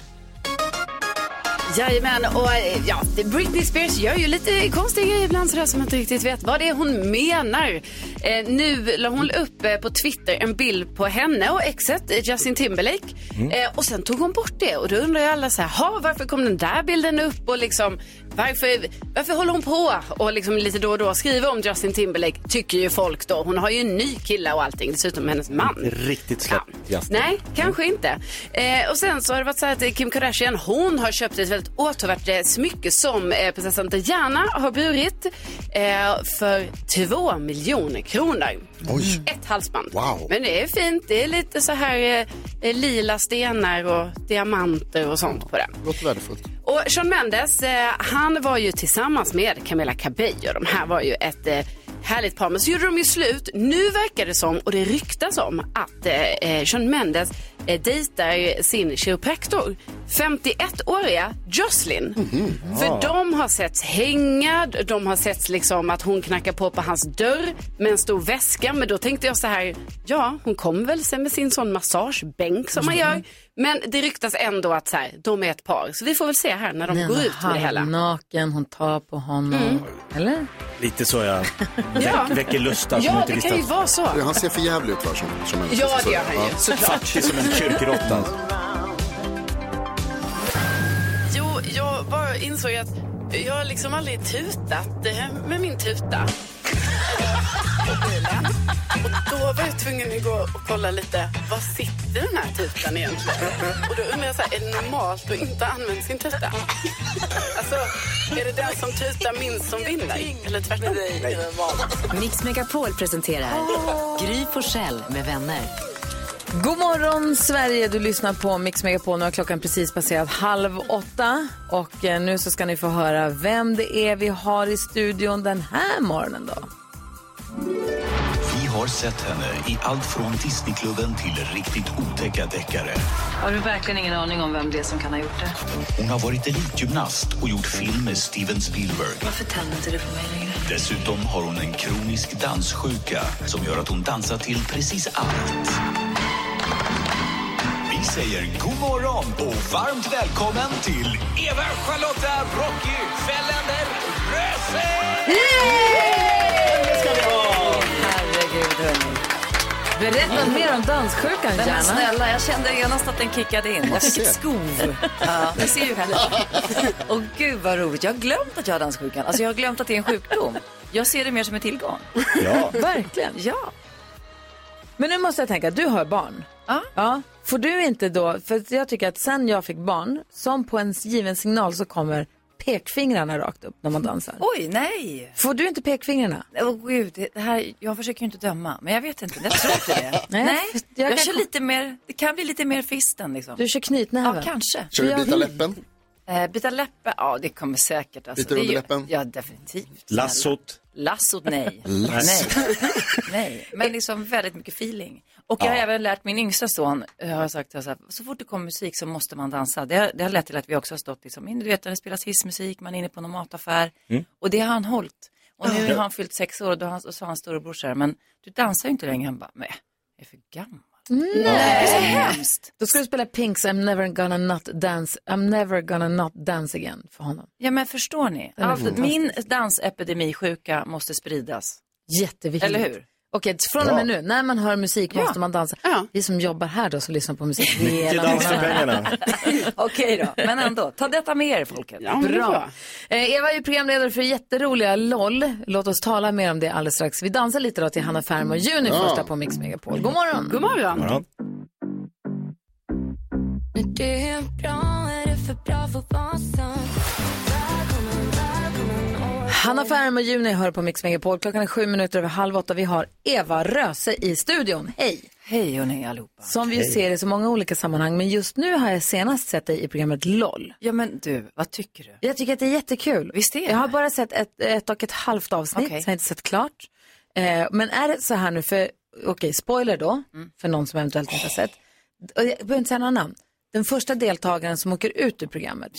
S6: Jajamän, och eh, ja, Britney Spears gör ju lite konstiga grejer ibland sådär som man inte riktigt vet vad det är hon menar. Eh, nu la hon upp eh, på Twitter en bild på henne och exet eh, Justin Timberlake
S13: Mm.
S6: eh, och sen tog hon bort det och då undrar ju alla så här, "Ha, varför kom den där bilden upp och liksom varför, varför håller hon på och liksom lite då och då skriva om Justin Timberlake tycker ju folk då. Hon har ju en ny kille och allting dessutom hennes man.
S2: Riktigt släppt. Justin.
S6: Nej, kanske inte. Eh, och sen så har det varit så här att eh, Kim Kardashian, hon har köpt ett väldigt återvärt eh, smycke som eh, prinsessan Diana har burit eh, för två miljoner kronor.
S4: Oj.
S6: Ett halsband.
S4: Wow.
S6: Men det är fint. Det är lite så här eh, lila stenar och diamanter och sånt på det.
S4: Låter värdefullt.
S6: Och Sean Mendes, eh, han var ju tillsammans med Camilla Cabello. De här var ju ett eh, härligt par, men så gjorde de ju slut. Nu verkar det som, och det ryktas om, att eh, eh, Sean Mendes eh, dejtar sin kiropraktor, 51-åriga Jocelyn.
S5: Mm.
S6: Mhm. För de har setts hänga, de har setts liksom att hon knackar på på hans dörr med en stor väska. Men då tänkte jag så här, ja hon kom väl sen med sin sån massagebänk som man gör. Men det ryktas ändå att så här, de är ett par. Så vi får väl se här när de
S1: Nej,
S6: går
S1: hon
S6: ut med det hela.
S1: halvnaken, hon tar på honom.
S6: Mm.
S1: Eller?
S2: Lite så jag
S6: Ja.
S2: väck, väcker lustar som
S6: Ja,
S2: jag inte
S6: det
S2: visste
S6: kan ju
S2: att-
S6: vara så.
S4: Han ser för jävligt ut va? Som, som en-
S6: Ja,
S4: så-
S6: det gör han ju, såklart.
S2: Fattig som en kyrkråtta. alltså.
S6: Jo, jag bara insåg att jag har liksom aldrig tutat eh, med min tuta. På bilen. Och då var jag tvungen att gå och kolla lite, var sitter den här tutan egentligen? Och då undrar jag så här, är det normalt att inte använda sin tuta? Alltså, är det den som tutar minst som vinner? Eller tvärtom? Nej.
S13: Mix Megapol presenterar Gry Forssell med vänner.
S1: God morgon Sverige, du lyssnar på Mix Megapol. Nu har klockan precis passerat halv åtta och eh, nu så ska ni få höra vem det är vi har i studion den här morgonen då.
S14: Vi har sett henne i allt från Disneyklubben till riktigt otäcka deckare.
S13: Har du verkligen ingen aning om vem det är som kan ha gjort det?
S14: Hon har varit elitgymnast och gjort film med Steven Spielberg.
S13: Varför tänder inte du på mig längre?
S14: Dessutom har hon en kronisk danssjuka som gör att hon dansar till precis allt. Vi säger god morgon och varmt välkommen till Eva Charlotta Rocky Fellander Röse!
S1: Herregud hörni. Berätta mer om danssjukan
S13: Nej,
S1: gärna.
S13: men snälla, jag kände genast att den kickade in. Jag fick
S1: ser.
S13: ett skov. Ja, ni ser ju här lite. Och gud vad roligt. Jag har glömt att jag har danssjukan. Alltså jag har glömt att det är en sjukdom. Jag ser det mer som en tillgång.
S1: Ja. Verkligen.
S13: Ja.
S1: Men nu måste jag tänka, du har barn. Ja. Får du inte då, för att jag tycker att sen jag fick barn, som på en given signal så kommer pekfingrarna rakt upp när man dansar.
S13: Oj, nej.
S1: Får du inte pekfingrarna?
S13: Åh gud, det här, jag försöker ju inte döma, men jag vet inte. Jag tror inte det.
S1: Nej,
S13: Nej,
S1: jag
S13: jag,
S1: kan-
S13: kör lite mer, det kan bli lite mer fisten liksom.
S1: Du kör knytnäven?
S13: Ja, kanske.
S4: Kör du bita läppen?
S13: Eh, bita läppen, ja det kommer säkert. Alltså.
S4: Biter
S13: Det är
S4: under
S13: ju-
S4: läppen?
S13: Ja, definitivt.
S2: Lassot.
S13: Lassot, nej.
S4: Lass.
S13: Nej. nej. Men liksom väldigt mycket feeling. Och jag har även lärt min yngsta son, eh, har jag sagt till honom så, här, så fort det kommer musik så måste man dansa. Det har, det har lett till att vi också har stått liksom, in- du vet när det spelas hissmusik, man är inne på någon mataffär.
S5: Mm.
S13: Och det har han hållit. Och nu
S5: Ja.
S13: har han fyllt sex år och då har han, och så har han storebror så här, men du dansar ju inte längre. Han bara, nej, jag är för gammal. Det är så hemskt.
S1: Då ska du spela Pinks I'm never gonna not dance, I'm never gonna not dance again för honom.
S13: Ja men förstår ni?
S1: Den är
S13: Allt,
S1: fantastisk.
S13: Alltså, min dansepidemisjuka måste spridas.
S1: Jätteviktigt.
S13: Eller hur?
S1: Okej, från och med nu, när man hör musik måste man dansa. Vi som jobbar här då, som lyssnar på musik hela morgonen.
S13: Okej då, men ändå. Ta detta med er folket.
S1: Bra. Eh, Eva är ju programledare för jätteroliga LOL. Låt oss tala mer om det alldeles strax. Vi dansar lite då till Hanna Ferm och Juni
S5: Ja.
S1: första på Mix Megapol. God morgon.
S5: God morgon.
S15: När du är bra är du för bra för att vara sant.
S1: Hanna Ferm och Juni hör på Mix Megapol. Klockan är sju minuter över halv åtta. Vi har Eva Röse i studion. Hej!
S13: Hej och ni allihopa.
S1: Som vi ju
S13: Hej.
S1: ser i så många olika sammanhang. Men just nu har jag senast sett dig i programmet LOL.
S13: Ja men du, vad tycker du?
S1: Jag tycker att det är jättekul. Visst
S13: är
S1: Jag har bara sett ett, ett och ett halvt avsnitt
S13: Okej.
S1: som jag inte sett klart. Eh, men är det så här nu, för okej, spoiler då,
S13: Mm.
S1: för någon som eventuellt inte har sett. Och jag behöver inte säga några namn. Den första deltagaren som åker ut ur programmet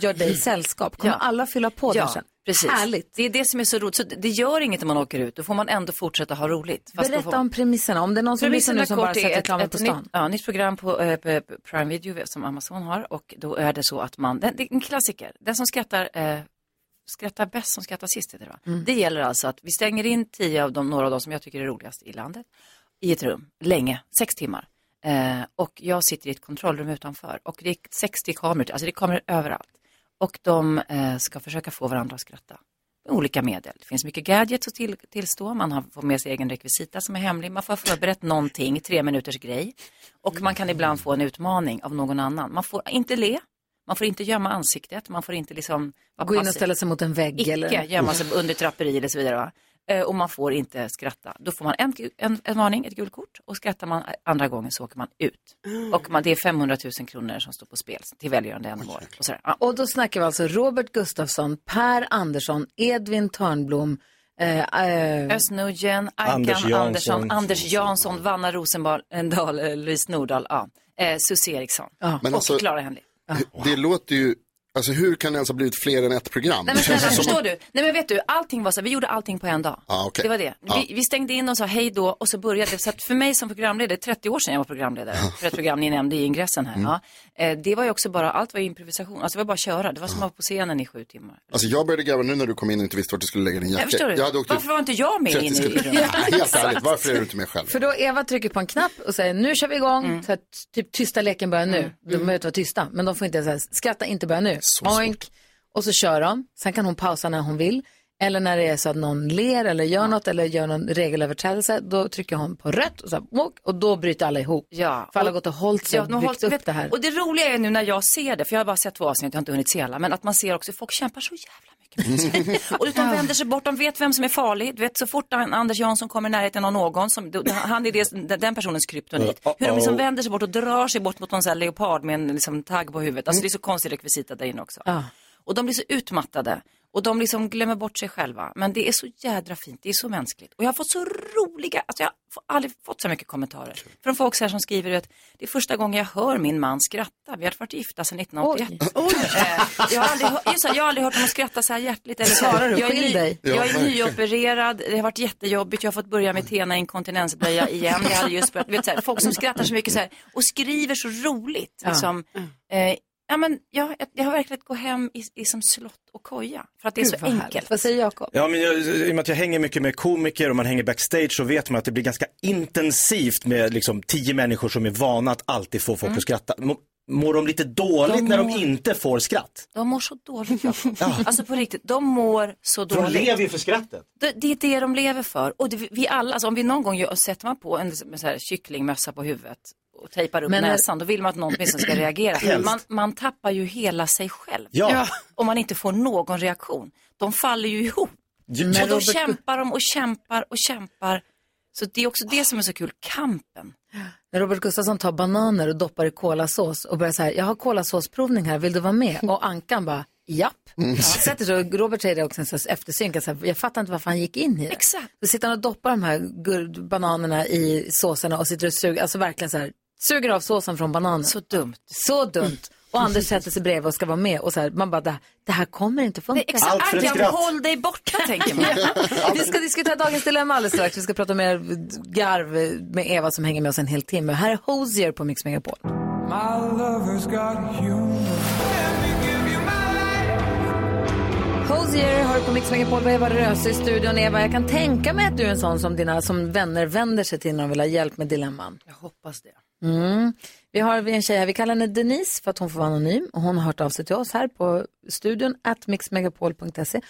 S1: gör dig sällskap. Kommer
S13: Ja.
S1: alla fylla på där
S13: Ja,
S1: sen?
S13: precis.
S1: Härligt.
S13: Det är det som är så roligt. Så det gör inget om man åker ut, då får man ändå fortsätta ha roligt. Fast då
S1: Berätta
S13: får...
S1: om premisserna, om det är någon som lyssnar nu som bara sett reklamen på stan.
S13: Nytt, ja, nytt program på eh, p- p- Prime Video som Amazon har och då är det så att man, det, det är en klassiker, den som skrattar, eh, skrattar bäst som skrattar sist heter det va?
S1: Mm.
S13: Det gäller alltså att vi stänger in tio av de, några av de som jag tycker är roligast i landet i ett rum, länge, sex timmar. Eh, och jag sitter i ett kontrollrum utanför och det är 60 kameror, alltså det är kameror överallt. Och de eh, ska försöka få varandra att skratta med olika medel. Det finns mycket gadgets att till, tillstå, man har, får med sig egen rekvisita som är hemlig, man får ha förberett någonting, tre minuters grej. Och man kan ibland få en utmaning av någon annan. Man får inte le, man får inte gömma ansiktet, man får inte liksom vara
S1: Gå in och
S13: passiv.
S1: ställa sig mot en vägg
S13: Icke
S1: eller?
S13: gömma sig under draperier och så vidare. Va? Eh, Och man får inte skratta. Då får man en, gu- en, en varning, ett gult kort. Och skrattar man andra gången så åker man ut. Och man, det är 500 000 kronor som står på spel till välgörande ändamål. Och sådär. Ja.
S1: Och då snackar vi alltså Robert Gustafsson, Per Andersson, Edvin Törnblom, eh, eh,
S13: Özz Nujen,
S1: Anders
S13: Ankan
S1: Jansson.
S13: Andersson, Anders Jansson, Vanna Rosendahl, eh, Louise Nordahl, ja. eh, Susie Eriksson
S4: Men
S13: och
S4: alltså-
S13: Clara Henry.
S4: Det låter ju, alltså hur kan det ens ha blivit fler än ett program?
S13: Nej
S4: Det
S13: men
S4: känns
S13: snälla,
S4: ju som
S13: förstår
S4: att-
S13: du? Nej men vet du, allting var så här, vi gjorde allting på en dag.
S4: Ja, okej.
S13: Det var det.
S4: Ja.
S13: Vi, vi stängde in och sa hej då och så började det. Så att för mig som programledare, 30 år sedan jag var programledare för ett program ni nämnde i ingressen
S4: Mm.
S13: här. Ja. Eh, det var ju också bara, allt var ju improvisation, alltså det var bara att köra. Det var som att vara på scenen i sju timmar.
S4: Alltså jag började gräva nu när du kom in och inte visste vart du skulle lägga din jacka.
S13: Jag förstår du?
S4: Jag hade åkt ut
S13: Varför var inte jag med
S4: 30
S13: inne i
S4: sekunder.
S13: rummet?
S4: Ja, Helt ärligt, varför är du inte med själv?
S1: För då Eva trycker på en knapp och säger nu kör vi igång.
S13: Mm.
S1: Så att, typ tysta leken börjar nu. De behöver inte vara tysta, men de får inte säga skratta inte börja nu. Oink. Och så kör de. Sen kan hon pausa när hon vill. Eller när det är så att någon ler eller gör något eller gör någon regelöverträdelse. Då trycker hon på rött och, så här, "Wok", och då bryter alla ihop.
S13: Ja.
S1: För alla har gått och hållit sig
S13: Ja,
S1: och
S13: de har
S1: byggt
S13: hållit-
S1: upp
S13: vet-
S1: det här.
S13: Och det roliga är nu när jag ser det, för jag har bara sett två avsnitt, jag har inte hunnit se alla, men att man ser också, folk kämpar så jävla mycket. med sig. och de vänder sig bort, de vet vem som är farlig. Du vet, så fort en Anders Jansson kommer i närheten av någon, som, då- han är det, den personens kryptonit. Hur de liksom
S5: Uh-oh.
S13: vänder sig bort och drar sig bort mot någon sån här leopard med en liksom, tagg på huvudet. Alltså det är så konstig rekvisita där inne också. Och de blir så utmattade. Och de liksom glömmer bort sig själva. Men det är så jädra fint, det är så mänskligt. Och jag har fått så roliga, alltså jag har aldrig fått så mycket kommentarer. Från folk så här som skriver att det är första gången jag hör min man skratta. Vi har varit gifta sedan 1981. Eh, Jag, har aldrig, hör- just det, jag har aldrig hört honom skratta så här hjärtligt. Eller så här.
S1: Svarar du?
S13: jag är,
S1: Skilj dig.
S13: jag
S1: Ja,
S13: är
S1: verkligen.
S13: nyopererad, det har varit jättejobbigt. Jag har fått börja med Tena inkontinensblöja igen. Jag hade just börjat, du vet, så här, folk som skrattar så mycket så här, och skriver så roligt.
S1: Ja.
S13: Liksom, eh, ja, men jag, jag har verkligen att gå hem i, i som slott och koja. För att det är
S1: Gud,
S13: så
S1: vad
S13: enkelt.
S1: härligt. Vad säger Jakob?
S2: Ja, men jag, i och med att jag hänger mycket med komiker och man hänger backstage så vet man att det blir ganska intensivt med liksom tio människor som är vana att alltid få folk att skratta. Må- Mår de lite dåligt
S13: De
S2: när de
S13: mår-
S2: inte får skratt?
S13: De mår så dåligt, Jakob. Alltså på riktigt, de mår så
S2: För de
S13: dåligt.
S2: lever ju för skrattet.
S13: Det, det är det de lever för. Och det, vi alla, alltså om vi någon gång gör, sätter man på en så här, kycklingmössa på huvudet och tejpar upp
S1: Men när-
S13: näsan, då vill man att någon åtminstone ska reagera.
S1: Helst.
S13: Man, man tappar ju hela sig själv.
S1: Ja. Ja.
S13: Om man inte får någon reaktion. De faller ju ihop.
S1: Ja.
S13: och
S1: Men
S13: då
S1: Robert-
S13: kämpar de och kämpar och kämpar. Så det är också det som är så kul, kampen.
S1: När Robert Gustafsson tar bananer och doppar i kolasås och börjar så här, jag har kolasåsprovning här, vill du vara med? Och Ankan bara, Japp.
S4: Mm.
S1: Ja. Sätter så, Robert säger det också en sån här eftersynk, alltså, jag fattar inte varför han gick in i det. Exakt. Så sitter han och doppar de här gur- bananerna i såserna och sitter och suger, alltså verkligen så här, suger av såsen från bananen. Så dumt. Så dumt. Och Anders sätter sig bredvid och ska vara med och så här, man bara, det här, det här kommer inte funka.
S13: Exakt, Arkan, håll dig borta tänker man.
S1: Vi ska diskutera dagens dilemma alldeles strax. Vi ska prata mer garv med Eva som hänger med oss en hel timme. Här är Hozier på Mix Megapol.
S14: My lover's got humor.
S1: Hozier hör på Mix Megapol med Eva Röse i studion. Eva, jag kan tänka mig att du är en sån som dina som vänner vänder sig till när de vill ha hjälp med dilemman.
S13: Jag hoppas det.
S1: Mm. Vi har en tjej här, vi kallar henne Denise för att hon får vara anonym. Och hon har hört av sig till oss här på studion, at mixmegapol.se.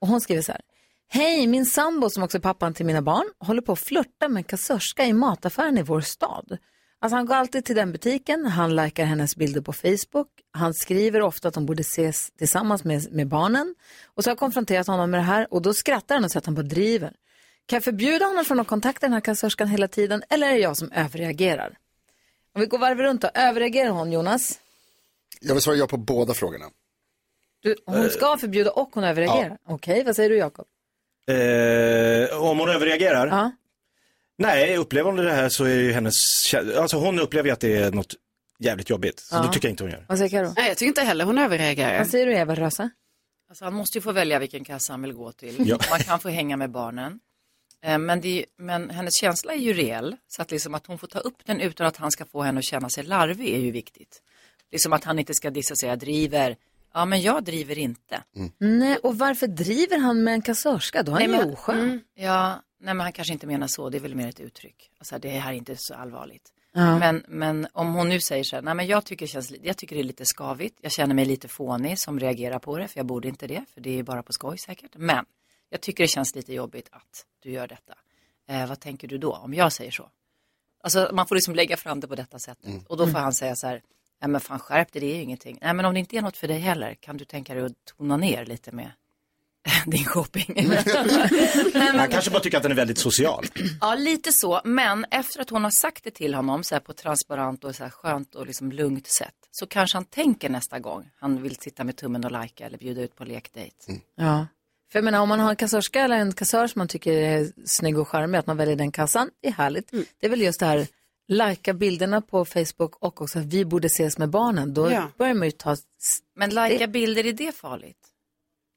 S1: Och hon skriver så här. Hej, min sambo som också är pappan till mina barn håller på att flörta med en kassörska i mataffären i vår stad. Alltså han går alltid till den butiken, han likar hennes bilder på Facebook, han skriver ofta att de borde ses tillsammans med, med barnen. Och så har jag konfronterat honom med det här och då skrattar han och säger att han bara driver. Kan jag förbjuda honom från att kontakta den här kassörskan hela tiden eller är det jag som överreagerar? Om vi går varv runt då. Överreagerar hon, Jonas?
S4: Jag vill svara ja på båda frågorna.
S1: Du, hon ska förbjuda och hon överreagerar. Okej, vad säger du, Jakob?
S2: Eh, om hon överreagerar? Nej, upplever hon det här så är det ju hennes, kä- alltså hon upplever ju att det är något jävligt jobbigt. Så
S1: Ja.
S2: det tycker jag inte hon gör.
S1: Vad säger Karo?
S13: Nej, jag tycker inte heller hon överreagerar.
S1: Vad säger du, Eva Rösa?
S13: Alltså, han måste ju få välja vilken kassa han vill gå till.
S1: Ja.
S13: Man kan få hänga med barnen. Eh, Men, det är, ju- men hennes känsla är ju reell. Så att, liksom att hon får ta upp den utan att han ska få henne att känna sig larvig är ju viktigt. Liksom att han inte ska dissa och säga driver. Ja, men jag driver inte.
S1: Mm. Nej, och varför driver han med en kassörska? Då är han ju oskön.
S13: mm, ja, nej, men han kanske inte menar så. Det är väl mer ett uttryck. Alltså, det här är inte så allvarligt.
S1: Ja.
S13: Men, men om hon nu säger så här, nej men jag tycker, det känns, li- jag tycker det är lite skavigt, jag känner mig lite fånig som reagerar på det, för jag borde inte det, för det är bara på skoj säkert. Men jag tycker det känns lite jobbigt att du gör detta. Eh, vad tänker du då, om jag säger så? Alltså man får liksom lägga fram det på detta sättet.
S6: Mm.
S13: Och då får
S6: Mm.
S13: han säga så här, nej men fan skärp dig, det är ju ingenting. Nej men om det inte är något för dig heller, kan du tänka dig att tona ner lite med din shopping?
S2: Han kanske bara tycker att den är väldigt social.
S13: Ja, lite så. Men efter att hon har sagt det till honom så här på ett transparent och så här skönt och liksom lugnt sätt så kanske han tänker nästa gång han vill sitta med tummen och lajka eller bjuda ut på lekdejt.
S1: Ja. För jag menar, om man har en kassörska eller en kassör som man tycker är snygg och charmig, att man väljer den kassan, det är härligt.
S13: Mm.
S1: Det är väl just det här, lajka bilderna på Facebook och också att vi borde ses med barnen. Då
S13: Ja.
S1: börjar man ju ta...
S13: Men lajka bilder, är det farligt?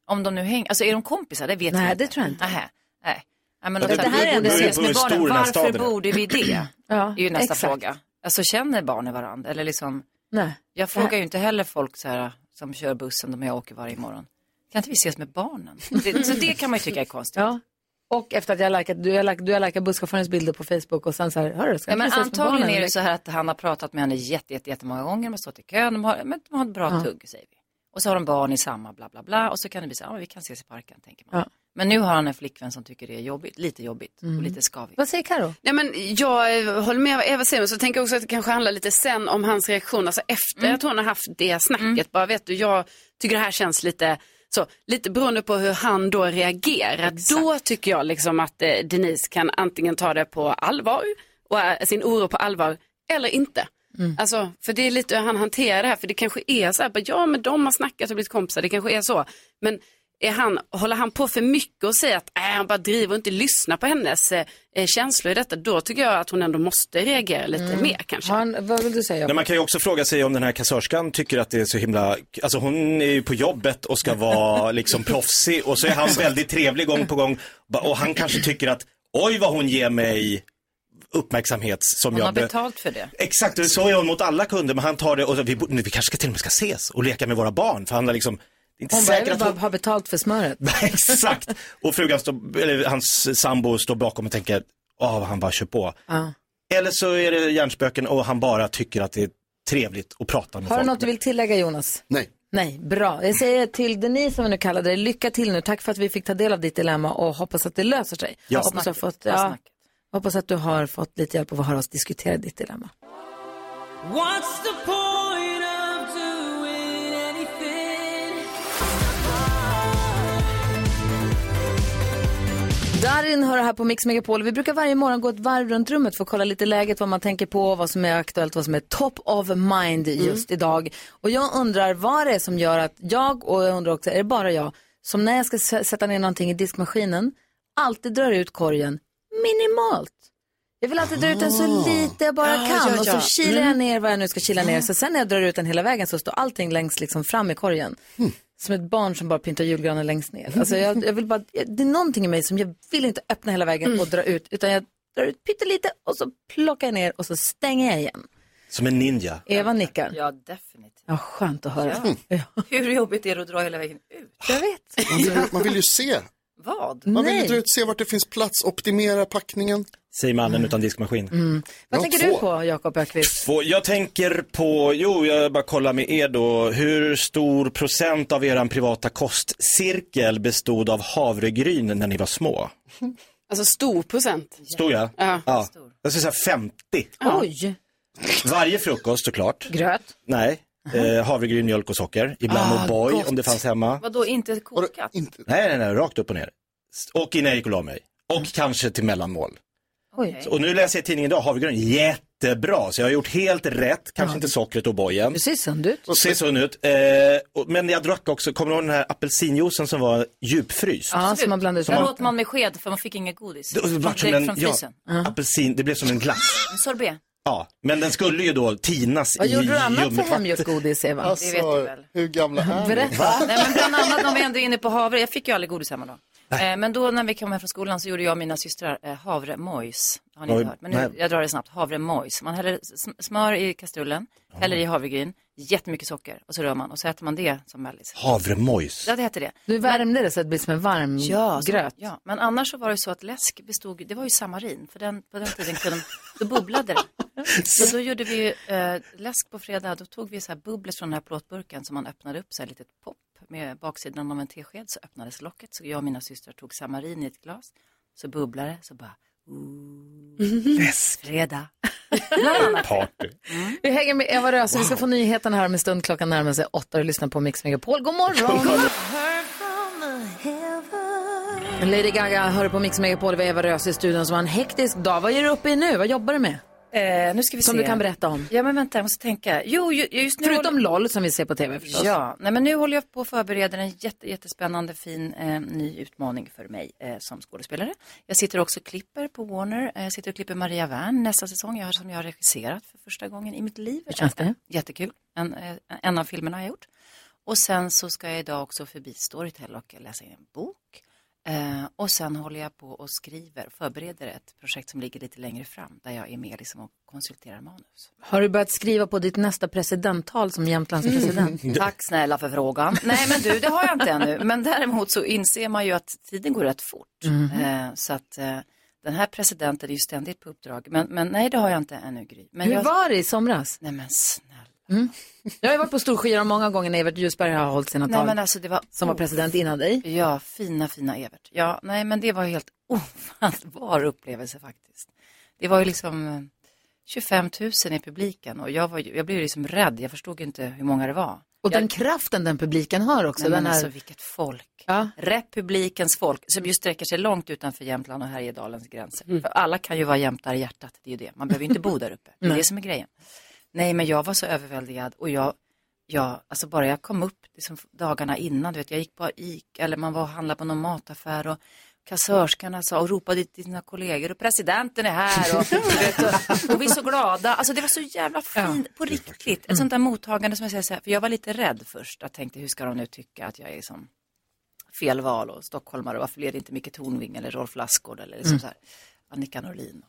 S13: Om de nu hänger, alltså är de kompisar? Det vet
S1: Nej,
S13: jag inte.
S1: det tror jag inte.
S13: Nähä. Nej. Nej, men
S1: Det-
S13: alltså,
S1: det här
S13: vi
S1: är ändå-
S13: borde
S1: Det beror
S13: ses
S1: på hur
S13: med barnen.
S1: stor den här
S13: Varför
S1: staden är.
S13: borde vi det?
S1: Ja,
S13: det är ju nästa
S1: exakt.
S13: fråga. Alltså känner barnen varandra? Eller liksom,
S1: Nej.
S13: jag frågar ju inte heller folk så här, som kör bussen, de och jag åker varje morgon. Kan inte vi ses med barnen? Det, så det kan man ju tycka är konstigt.
S1: Ja. Och efter att jag har likat, du har likat, du har likat busschaufförens bilder på Facebook och sen så här, hörru, ska
S13: Ja,
S1: inte
S13: men
S1: vi ses med
S13: antagligen
S1: barnen?"
S13: är det så här att han har pratat med henne jätte, jätte, jättemånga gånger, de har stått i kön, de har, men de har ett bra
S1: Ja.
S13: tugg säger vi. Och så har de barn i samma bla bla bla och så kan det bli så här, ja, vi kan ses i parken tänker man.
S1: Ja.
S13: Men nu har han en flickvän som tycker det är jobbigt, lite jobbigt
S1: Mm.
S13: och lite skavigt.
S1: Vad säger Karo?
S6: Nej, men jag eh, håller med vad Eva säger, men så tänker jag också att det kanske handlar lite sen om hans reaktion, alltså efter
S13: Mm.
S6: att hon har haft det snacket. Bara vet du, jag tycker det här känns lite så, lite beroende på hur han då reagerar. Då tycker jag liksom att eh, Denise kan antingen ta det på allvar och eh, sin oro på allvar eller inte. Alltså, för det är lite hur han hanterar det här, för det kanske är så här, bara, ja men de har snackat och blivit kompisar, det kanske är så. Men är han, håller han på för mycket och säger att äh, han bara driver och inte lyssnar på hennes eh, eh, känslor i detta, då tycker jag att hon ändå måste reagera lite mer kanske.
S1: vad vill du säga?
S2: Men man kan ju också fråga sig om den här kassörskan tycker att det är så himla, alltså hon är ju på jobbet och ska vara liksom proffsig och så är han väldigt trevlig gång på gång Ba- och han kanske tycker att oj vad hon ger mig uppmärksamhet som
S13: Hon
S2: jag
S13: har
S2: be-
S13: betalt för det.
S2: Exakt, och så är hon mot alla kunder men han tar det och så, vi, borde- vi kanske ska till och med ska ses och leka med våra barn för han har liksom, det är inte
S1: Hon bara, jag
S2: säkert
S1: vill
S2: att
S1: bara
S2: hon
S1: ha betalt för smöret.
S2: Exakt. Och frugan står, eller hans sambo står bakom och tänker, åh vad han bara kör på.
S1: Ja.
S2: Eller så är det hjärnspöken och han bara tycker att det är trevligt att prata med
S1: Har du
S2: folk.
S1: något du vill tillägga Jonas?
S4: Nej.
S1: Nej, bra. Jag säger till Denise som vi nu kallar dig, lycka till nu. Tack för att vi fick ta del av ditt dilemma och hoppas att det löser sig.
S10: Ja.
S1: hoppas, du har fått,
S10: Bra
S1: ja,
S10: snacket.
S1: hoppas att du har fått lite hjälp av att höra oss diskutera ditt dilemma.
S14: What's the point of doing anything?
S1: Darin hör här på Mix Megapol. Vi brukar varje morgon gå ett varv runt rummet för att kolla lite läget, vad man tänker på, vad som är aktuellt, vad som är top of mind
S10: Mm.
S1: just idag. Och jag undrar vad det är som gör att jag, och jag undrar också, är det bara jag, som när jag ska s- sätta ner någonting i diskmaskinen, alltid drar ut korgen minimalt. Jag vill alltid dra ut den så lite jag bara
S5: Ah,
S1: kan
S5: ja,
S1: och så
S5: ja.
S1: kilar jag
S5: Mm.
S1: ner vad jag nu ska kila ner. Så sen när jag drar ut den hela vägen så står allting längst liksom fram i korgen. Som ett barn som bara pyntar julgranen längst ner. Alltså jag, jag vill bara, jag- det är någonting i mig som jag vill inte öppna hela vägen och dra ut. Utan jag drar ut pyttelite och så plockar jag ner och så stänger jag igen.
S2: Som en ninja.
S1: Eva nickar.
S13: Ja, definitivt.
S1: Ja, skönt att höra.
S13: Hur jobbigt är det att dra hela vägen ut?
S1: Jag vet.
S4: Man vill, man vill ju se.
S13: Vad?
S4: Man vill ju dra ut, se vart det finns plats, optimera packningen.
S2: Säger mannen
S1: Mm.
S2: utan diskmaskin.
S1: Vad
S2: Ja,
S1: tänker
S2: två.
S1: du på, Jakob Ökvist?
S2: Två- Jag tänker på, jo jag bara kollar med er då, hur stor procent av eran privata kostcirkel bestod av havregryn när ni var små?
S6: Alltså stor procent.
S2: Stod jag?
S6: Ja.
S2: Jag skulle säga 50.
S1: Oj.
S2: Varje frukost såklart.
S1: Gröt?
S2: Nej. Eh, havregryn, mjölk och socker. Ibland
S13: Ah,
S2: O'boy
S13: gott.
S2: om det fanns hemma.
S13: Vadå, inte kokat?
S2: Nej, nej, nej, rakt upp och ner. Och innan jag gick och la mig. Och
S1: Mm.
S2: kanske till mellanmål.
S1: Oj.
S2: Och nu läser jag i tidningen idag, havregryn, jättebra. Så jag har gjort helt rätt, kanske inte sockret och bojen.
S1: Du ser sund ut.
S2: Och ser sån ut. Eh, och, men jag drack också, kommer du ihåg den här apelsinjuicen som var djupfryst?
S1: Ja, som man blandar ut.
S2: Som man-
S13: Där åt man med sked för man fick inga godis.
S2: Det, det
S13: man
S2: vart som
S13: direkt
S2: en,
S13: från
S2: ja,
S13: frysen.
S2: apelsin, det blev som en glass.
S13: En sorbet.
S2: Ja, men den skulle ju då tinas
S1: Vad
S2: i
S1: gjorde du annat för
S2: ljummet
S1: hemgjort godis, Alltså, Eva?
S13: Alltså, Det vet du väl.
S4: hur gamla
S2: Mm.
S4: är
S13: Va? Nej, men bland annat om vi ändå är inne på havre. Jag fick ju aldrig godis hemma då. Eh, men då när vi kom hem från skolan så gjorde jag och mina systrar eh, havremojs. Har ni
S16: Oj,
S13: inte hört? Men nu,
S16: nej.
S13: jag drar det snabbt. Havremojs. Man häller sm- smör i kastrullen, häller i havregryn, jättemycket socker och så rör man och så äter man det som mellis.
S2: Havremojs.
S13: Ja, det heter det.
S1: Du värmde det så att det blir som en varm
S13: Ja, så-
S1: gröt.
S13: ja, men annars så var det så att läsk bestod, det var ju samarin, för den, på den tiden kunde, då bubblade det. Så då gjorde vi eh, läsk på fredag, då tog vi så här bubblor från den här plåtburken som man öppnade upp, så här litet pop med baksidan av en tesked, så öppnades locket, så jag och mina systrar tog samarin i ett glas, så bubblade det, så bara, ooh, fredag.
S2: Party.
S1: Mm. Vi hänger med Eva Röse. Vi ska få nyheterna här om en stund. Klockan närmar sig åtta och lyssnar på Mix Megapol. God morgon! Lady Gaga hör på Mix Megapol. Vi har Eva Röse i studion som har en hektisk dag. Vad är du uppe i nu? Vad jobbar du med?
S13: Eh, nu ska vi
S1: som
S13: se.
S1: du kan berätta om.
S13: Ja, men vänta, jag måste tänka. Jo, ju- just nu...
S1: Förutom LOL som vi ser på tv förstås.
S13: Ja, nej, men nu håller jag på att förbereda en jätte, jättespännande fin eh, ny utmaning för mig eh, som skådespelare. Jag sitter också och klipper på Warner. Eh, jag sitter och klipper Maria Wern nästa säsong jag, har- som jag har regisserat för första gången i mitt liv.
S1: Hur känns det?
S13: Jättekul. En, eh, en av filmerna har jag gjort. Och sen så ska jag idag också förbi Storytel och läsa in en bok. Eh, och sen håller jag på och skriver, förbereder ett projekt som ligger lite längre fram där jag är med liksom och konsulterar manus.
S1: Har du börjat skriva på ditt nästa presidenttal som Jämtlands Alltså,
S13: Mm.
S1: president?
S13: Tack snälla för frågan. Nej men du, det har jag inte ännu. Men däremot så inser man ju att tiden går rätt fort.
S1: Mm-hmm.
S13: Eh, så att eh, den här presidenten är ju ständigt på uppdrag. Men, men nej, det har jag inte ännu Gry. Men
S1: Hur
S13: jag...
S1: var det i somras?
S13: Nej men snälla.
S1: Mm. Jag har ju varit på Storskyarna många gånger när Evert Ljusberg har hållit sina
S13: Nej,
S1: tal.
S13: men alltså, det var...
S1: Som var president innan dig.
S13: Ja, fina, fina Evert. Ja, nej men det var helt ofattbar upplevelse faktiskt. Det var ju liksom eh, 25 000 i publiken och jag, var, ju- jag blev ju liksom rädd. Jag förstod ju inte hur många det var.
S1: Och den kraften den publiken har också.
S13: Nej,
S1: den
S13: men
S1: här...
S13: alltså vilket folk. Republikens folk som ju sträcker sig långt utanför Jämtland och Härjedalens gränser.
S1: Mm.
S13: För alla kan ju vara jämtar i hjärtat, det är ju det. Man behöver ju inte bo där uppe. Det är
S1: Nej.
S13: det som är grejen. Nej, men jag var så överväldigad och jag, jag alltså bara jag kom upp liksom dagarna innan, du vet, jag gick på Ica eller man var och handlade på någon mataffär och kassörskarna sa och ropade till sina kollegor och presidenten är här och, du vet, och, och vi är så glada. Alltså det var så jävla fint, på riktigt. Ett sånt där mottagande som jag säger så här, för jag var lite rädd först. Jag tänkte hur ska de nu tycka att jag är som fel val och stockholmare, varför blev det inte Micke Tornving eller Rolf Lassgård eller liksom
S1: Mm.
S13: så här, Annika Norlin.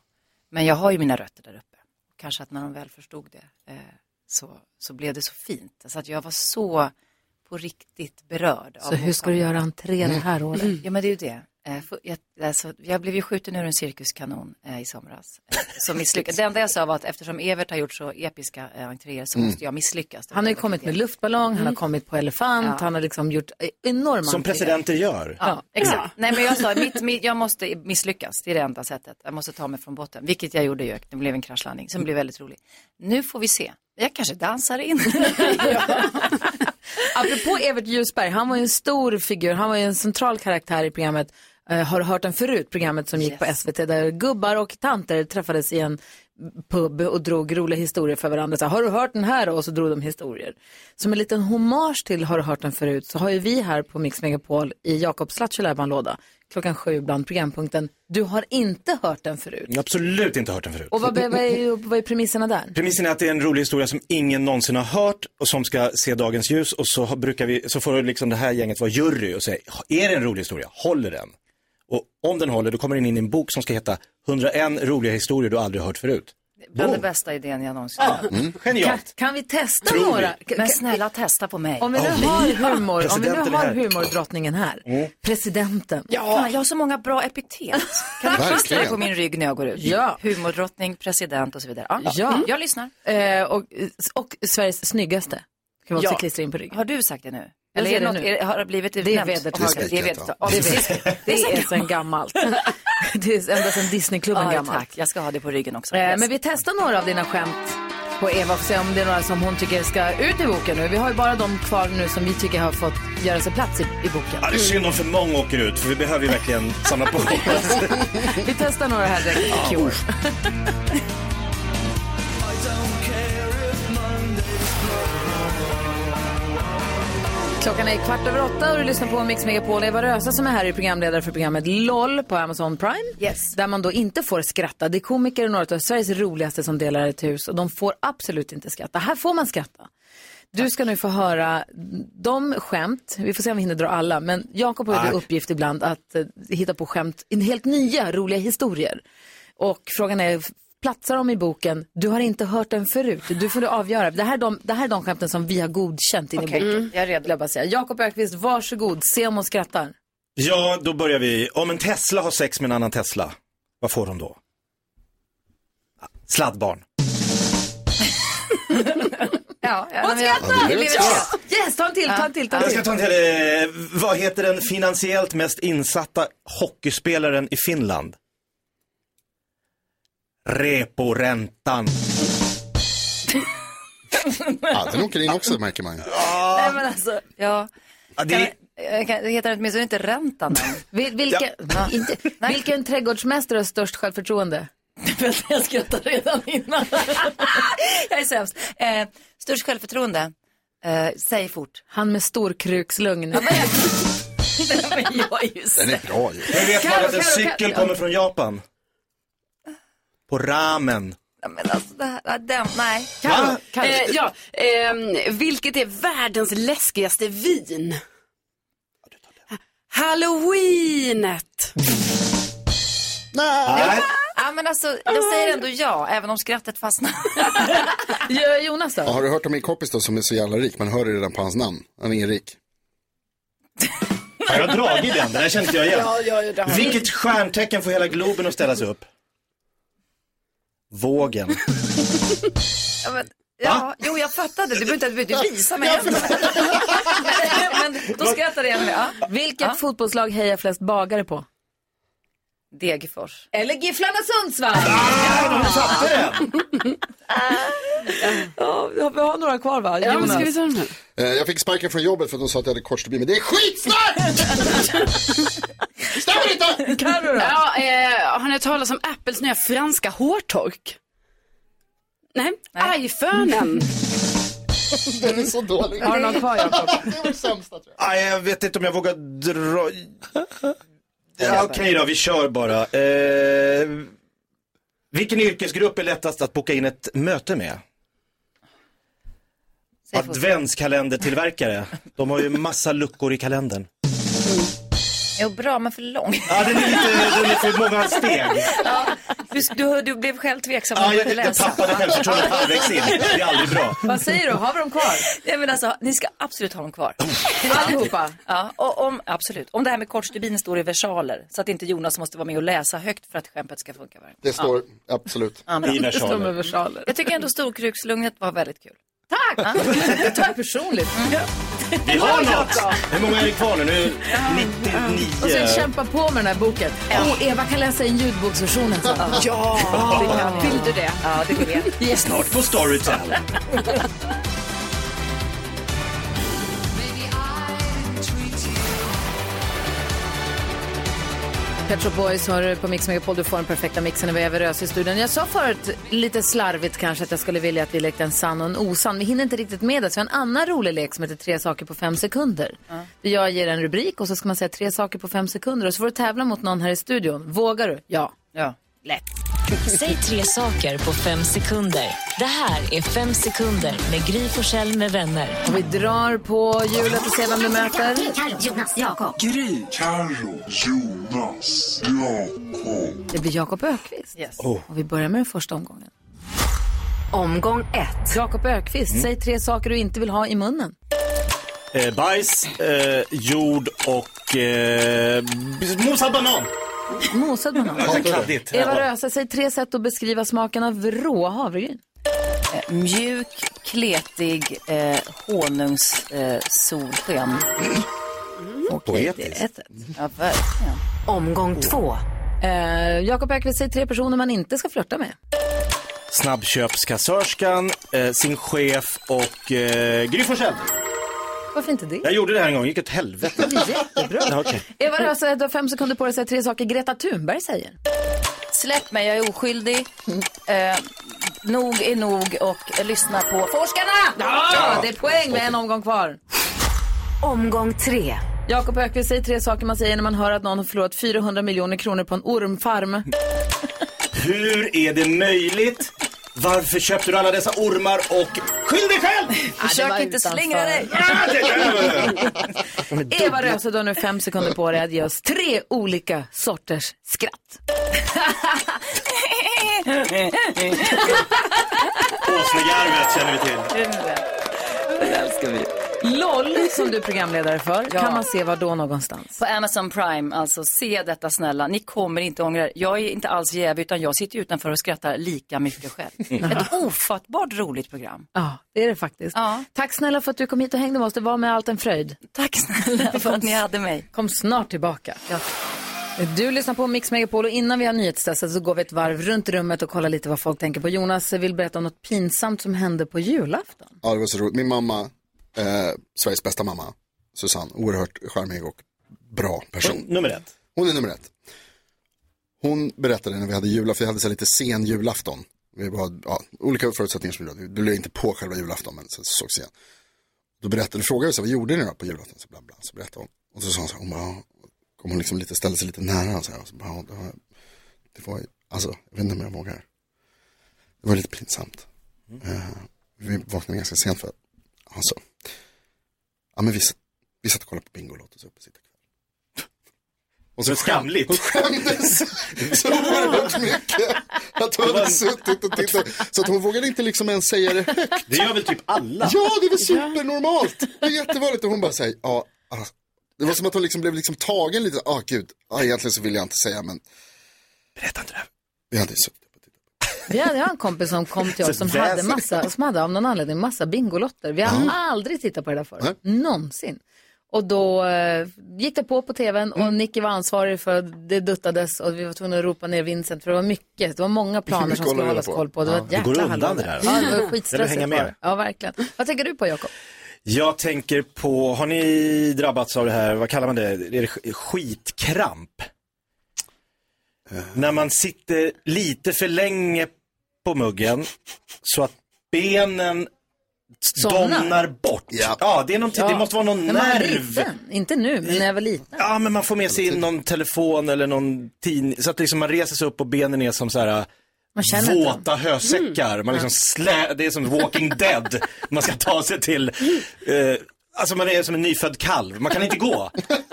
S13: Men jag har ju mina rötter där uppe. Kanske att när de väl förstod det eh, så, så blev det så fint. Så att jag var så på riktigt berörd. av
S1: Så hur ska du göra entré det här året?
S13: Ja, men det är ju det. Eh, för- Jag, alltså, jag blev ju skjuten ur en cirkuskanon eh, i somras. Eh, Så misslyck- det enda jag sa var att eftersom Evert har gjort så episka eh, entréer så
S1: Mm.
S13: måste jag misslyckas.
S1: Han har ju kommit med luftballong, han har kommit på elefant,
S13: Mm. Ja.
S1: han har liksom gjort eh, enorma...
S2: Som presidenter gör.
S13: Ja, exakt. Nej, men jag sa mitt, mitt, jag måste misslyckas. Det är det enda sättet. Jag måste ta mig från botten, vilket jag gjorde ju. Det blev en kraschlandning som blev väldigt rolig. Nu får vi se. Jag kanske dansar in.
S1: Apropå Evert Ljusberg, han var ju en stor figur, han var ju en central karaktär i programmet. eh, Har du hört den förut? Programmet som gick på SVT där gubbar och tanter träffades i en pub och drog roliga historier för varandra. Så, här, har du hört den här? Och så drog de historier. Som en liten hommage till Har du hört den förut så har ju vi här på Mix Megapol i Jakobs låda klockan sju bland programpunkten Du har inte hört den förut.
S2: Jag har absolut inte hört den förut.
S1: Och vad, vad, är, vad är premisserna där?
S2: Premissen är att det är en rolig historia som ingen någonsin har hört och som ska se dagens ljus och så, har- brukar vi, så får liksom det här gänget vara jury och säga, är det en rolig historia? Håller den? Och om den håller, då kommer den in i en bok som ska heta 101 roliga historier du aldrig hört förut.
S13: Bland den bästa idén jag någonsin har haft.
S2: Mm. Genialt.
S1: Kan vi testa
S2: Tror vi.
S1: några?
S13: Men snälla testa på mig.
S1: Om vi nu
S13: Åh,
S1: har
S13: Liva.
S1: humor, om vi nu
S13: Presidenten är
S1: har
S13: här.
S1: humordrottningen här. Presidenten.
S13: Fan, jag har så många bra epitet. Kan du
S1: Verkligen.
S13: klistra det på min rygg när jag går ut?
S1: Ja.
S13: Humordrottning, president och så vidare. Ja,
S1: Ja.
S13: Mm. jag lyssnar.
S1: Eh, och, och Sveriges snyggaste. Kan man också klistra in på ryggen.
S13: Har du sagt det nu?
S1: Jag
S13: Eller är
S1: säger
S13: det
S1: det
S13: Alltså, något,
S1: nu.
S13: är, det- har det blivit
S1: Det är
S13: utnämnt?
S1: vedertaget.
S13: Okej, Det är vedertaget. Ja,
S1: Det är
S13: precis.
S1: vedertaget.
S13: Det är
S1: Det är
S13: så
S1: sedan gammalt. det är ända sedan Disneyklubben
S13: Ja,
S1: gammalt.
S13: tack. Jag ska ha det på ryggen också.
S1: Eh,
S13: Yes.
S1: men vi testar några av dina skämt på Eva och se om det är några som hon tycker ska ut i boken nu. Vi har ju bara de kvar nu som vi tycker har fått göra sig plats i, i boken.
S2: Ja, det är synd om för många åker ut, för vi behöver ju verkligen samla på oss.
S1: Vi testar några här direkt. Cure. Klockan är kvart över åtta och du lyssnar på Mix Megapol. Eva Rösa som är här är programledare för programmet LOL på Amazon Prime. Där man då inte får skratta. Det är komiker och några av Sveriges roligaste som delar ett hus och de får absolut inte skratta. Här får man skratta. Du ska nu få höra de skämt, vi får se om vi hinner dra alla, men Jakob har ju
S13: Nej.
S1: till uppgift ibland att eh, hitta på skämt, in- helt nya roliga historier. Och frågan är, platsar de i boken? Du har inte hört den förut, du får du avgöra. Det här är de, det här är de skämten som vi har godkänt in
S13: Okej,
S1: i boken. Jag är redo. Jag bara säga. Jakob Ökvist, varsågod, se om hon skrattar.
S2: Ja, då börjar vi. Om en Tesla har sex med en annan Tesla, vad får hon då? Sladdbarn.
S1: Ja,
S13: ja,
S1: hon
S13: men jag-
S1: skrattar!
S2: det är väl bra.
S1: Yes, ta en till, ta en till, ta en
S2: Jag ska
S1: till.
S2: ta en till. eh, Vad heter den finansiellt mest insatta hockeyspelaren i Finland? Reporäntan.
S4: Ja, den åker in också märker man.
S13: Nej, men alltså,
S4: Ja,
S13: ja. Kan,
S4: det-
S13: jag kan, det heter åtminstone inte räntan.
S1: Vil, vilken, inte, vilken trädgårdsmästare har störst självförtroende?
S13: jag skrattar redan innan. jag är sämst. Eh, störst självförtroende. Eh, säg fort.
S1: Han med storkrukslugn.
S13: Men jag är ju
S2: Den
S13: är
S2: bra ju. Hur vet man
S13: Karo,
S2: att en
S13: Karo,
S2: cykel
S13: Karo.
S2: kommer från Japan? På ramen.
S13: Det här- ja, Den, nej.
S2: Va?
S6: Eh, ja, ehm, vilket är världens läskigaste vin? Halloweenet.
S13: Ja, ja, men alltså, jag säger ändå ja, även om skrattet fastnar.
S1: Ja, Jonas då?
S4: Ja, har du hört om min kompis då som är så jävla rik? Man hör det redan på hans namn. Han är rik.
S2: Har jag dragit den? Den här kände inte jag igen.
S6: Ja, ja, ja, det har jag.
S2: Vilket stjärntecken får hela Globen att ställa sig upp? Vågen.
S13: Ja, men, ja, jo, jag fattade. Du behöver inte, du behöver inte visa mig. men, men då skrattade jag. Ja.
S1: Vilket fotbollslag hejar flest bagare på?
S13: Degerfors.
S1: Eller Gifflarna Sundsvall!
S5: Ah,
S1: Ja, vi har några kvar va?
S6: Ja, men ska vi
S1: Jonas?
S6: ta den här?
S4: Eh, Jag fick sparken från jobbet för att de sa att jag hade kort stubin, men det är skitsnack! Stämmer inte!
S1: Carro då?
S6: Ja, eh, har ni hört talas om Apples nya franska hårtork? Nej, iPhonen.
S4: Den är så dålig.
S6: Har du någon kvar, Jakob?
S4: Det var det sämsta tror
S2: Nej, jag vet inte om jag vågar dra... Ja, Okej då, vi kör bara. Eh, vilken yrkesgrupp är lättast att boka in ett möte med? Adventskalendertillverkare. De har ju massa luckor i kalendern.
S13: Jo, bra, men för lång.
S2: Ja, den är lite, den är lite för många steg.
S13: Du, du, du blev själv tveksam.
S2: Ja,
S13: när du
S2: jag,
S13: började
S2: jag
S13: läsa.
S2: tappade självförtroendet halvvägs in. Det är aldrig bra.
S1: Vad säger du, har vi dem kvar?
S13: Nej, men alltså, ni ska absolut ha dem kvar.
S1: Allihopa?
S13: Ja, och om, absolut. Om det här med kort stubin står i versaler, så att inte Jonas måste vara med och läsa högt för att skämtet ska funka. Varmt.
S4: Det står absolut.
S13: Ja, bra.
S1: versaler.
S13: Jag tycker ändå storkrukslugnet var väldigt kul.
S1: Tack! Det tar jag personligt.
S6: Mm.
S2: Vi har
S13: Eh,
S2: något! Hur många är det kvar nu? Nu
S1: Och sen
S2: 99.
S1: kämpa på med den här boken. Och Eva kan läsa in ljudboksversionen sen.
S6: Ja,
S2: det kan
S1: jag. Vill du det?
S13: Ja, det vill
S1: jag. Yes.
S2: Snart på Storytel.
S1: Pet Shop Boys hör du på Mix Megapol. Du får den perfekta mixen när vi överöser i studion. Jag sa förut, lite slarvigt kanske, att jag skulle vilja att vi lekte en sann och en osann. Vi hinner inte riktigt med det, så vi har en annan rolig lek som heter Tre saker på fem sekunder.
S10: Ja.
S1: Där Jag ger en rubrik och så ska man säga tre saker på fem sekunder. Och så får du tävla mot någon här i studion. Vågar du? Ja.
S13: Ja, lätt.
S17: Säg tre saker på fem sekunder. Det här är Fem sekunder med Gry Forssell med vänner.
S1: Och vi drar på hjulet och ser vem du möter.
S17: Jonas, Jakob.
S1: Gry.
S17: Carro.
S1: Jonas. Jakob. Det blir Jakob Ökvist. Och vi börjar med den första omgången. Omgång ett. Jakob Ökvist,
S2: Mm.
S1: säg tre saker du inte vill ha i munnen.
S2: Eh, bajs, eh, jord och eh, b- mosad banan.
S1: Mosad banan.
S2: Det var kladdigt.
S1: Eva
S2: Ja.
S1: Rösa, säg tre sätt att beskriva smaken av rå havregryn.
S13: Eh, Mjuk, kletig, eh, honungssolsken. Eh, solsken.
S2: Mm,
S1: Okej, det är ett. Omgång två. Eh, Jakob Ökvist, säg tre personer man inte ska flörta med.
S2: Snabbköpskassörskan, eh, sin chef och eh, Gry Forssell.
S1: Varför inte det?
S2: Jag gjorde det här en gång, gick åt helvete.
S1: Jättebra.
S2: Ja, okej.
S1: Eva Rösa, alltså, du har fem sekunder på dig att säga tre saker Greta Thunberg säger.
S13: Släpp mig, jag är oskyldig. Eh, nog är nog och eh, lyssna på forskarna!
S1: Ja, det är poäng med en omgång kvar. Omgång tre. Jakob Ökvist säger tre saker man säger när man hör att någon har förlorat 400 miljoner kronor på en ormfarm.
S2: Hur är det möjligt? Varför köpte du alla dessa ormar och skyll dig själv!
S1: Försök inte slingra dig. Eva Röse, du har nu fem sekunder på dig att ge oss tre olika sorters skratt.
S2: Åsnegarvet känner vi till.
S13: Det älskar vi.
S1: LOL, som du är programledare för, kan man se var då någonstans?
S13: På Amazon Prime, alltså se detta snälla. Ni kommer inte ångra er. Jag är inte alls jävig utan jag sitter utanför och skrattar lika mycket själv. Ett ofattbart roligt program.
S1: Ja, det är det faktiskt. Tack snälla för att du kom hit och hängde med oss. Det var med allt en fröjd.
S13: Tack snälla för att ni hade mig.
S1: Kom snart tillbaka. Du lyssnar på Mix Megapol och innan vi har nyhetstestet så går vi ett varv runt rummet och kollar lite vad folk tänker på. Jonas vill berätta om något pinsamt som hände på julafton.
S4: Ja, det var så roligt. Min mamma, eh, Sveriges bästa mamma, Susanne, oerhört charmig och bra person.
S2: Nummer ett.
S4: Hon är nummer ett. Hon berättade när vi hade julafton, vi hade så här lite sen julafton. Vi var, ja, olika förutsättningar som gjorde att du lade inte på själva julafton, men så sågs igen. Då berättade, frågade vi så här, vad gjorde ni då på julafton? Så, bla, bla, så berättade hon. Och så sa hon så här, hon bara, ja, kom hon liksom lite, ställde sig lite nära så här, och så bara, ja, det var- det var, ju- alltså, jag vet inte om jag vågar. Det var lite pinsamt. Eh, vi vaknade ganska sent för att, alltså, ja men vi, satt- vi satt och kollade på Bingolotto så uppe sitta kväll. Och så skamligt. Hon skämdes så oerhört mycket att hon hade suttit och tittat. Så att hon vågade inte liksom ens säga det högt.
S2: Det gör väl typ alla?
S4: Ja, det är väl supernormalt. Det är jättevanligt. Och hon bara säger, ja, ah. det var som att hon liksom blev liksom tagen lite, ah gud, ah, egentligen så vill jag inte säga men. Berätta inte det Vi hade ju suttit.
S1: Vi hade jag har en kompis som kom till oss
S4: Så
S1: som hade,
S4: väsen.
S1: massa, som hade av någon anledning massa bingolotter. Vi har aldrig tittat på det där förut, någonsin. Och då eh, gick det på på tvn och
S2: Mm.
S1: Nicky var ansvarig för att det duttades och vi var tvungna att ropa ner Vincent för det var mycket, det var många planer som
S2: Mycket
S1: skulle
S2: att
S1: hållas
S2: hålla
S1: koll på. Det var ett
S2: Ja. Det går
S1: jäkla
S2: undan
S1: hallå.
S2: det där.
S1: Ja, det
S2: Mm.
S1: var skitstressigt.
S2: Gäller att hänga med.
S1: Ja, verkligen. Vad tänker du på Jakob?
S2: Jag tänker på, har ni drabbats av det här, vad kallar man det, är det sk- skitkramp? När man sitter lite för länge på muggen så att benen
S1: Somnar.
S2: domnar bort. Ja, det, är någon, det måste vara någon
S1: När man var
S2: nerv.
S1: liten. Inte nu, men när jag var liten.
S2: Ja, men man får med sig in någon telefon eller någon tidning. Så att liksom man reser sig upp och benen är som så här
S1: Man känner inte
S2: våta hösäckar. Man liksom slä, det är som Walking Dead. Man ska ta sig till, eh, alltså man är som en nyfödd kalv. Man kan inte gå.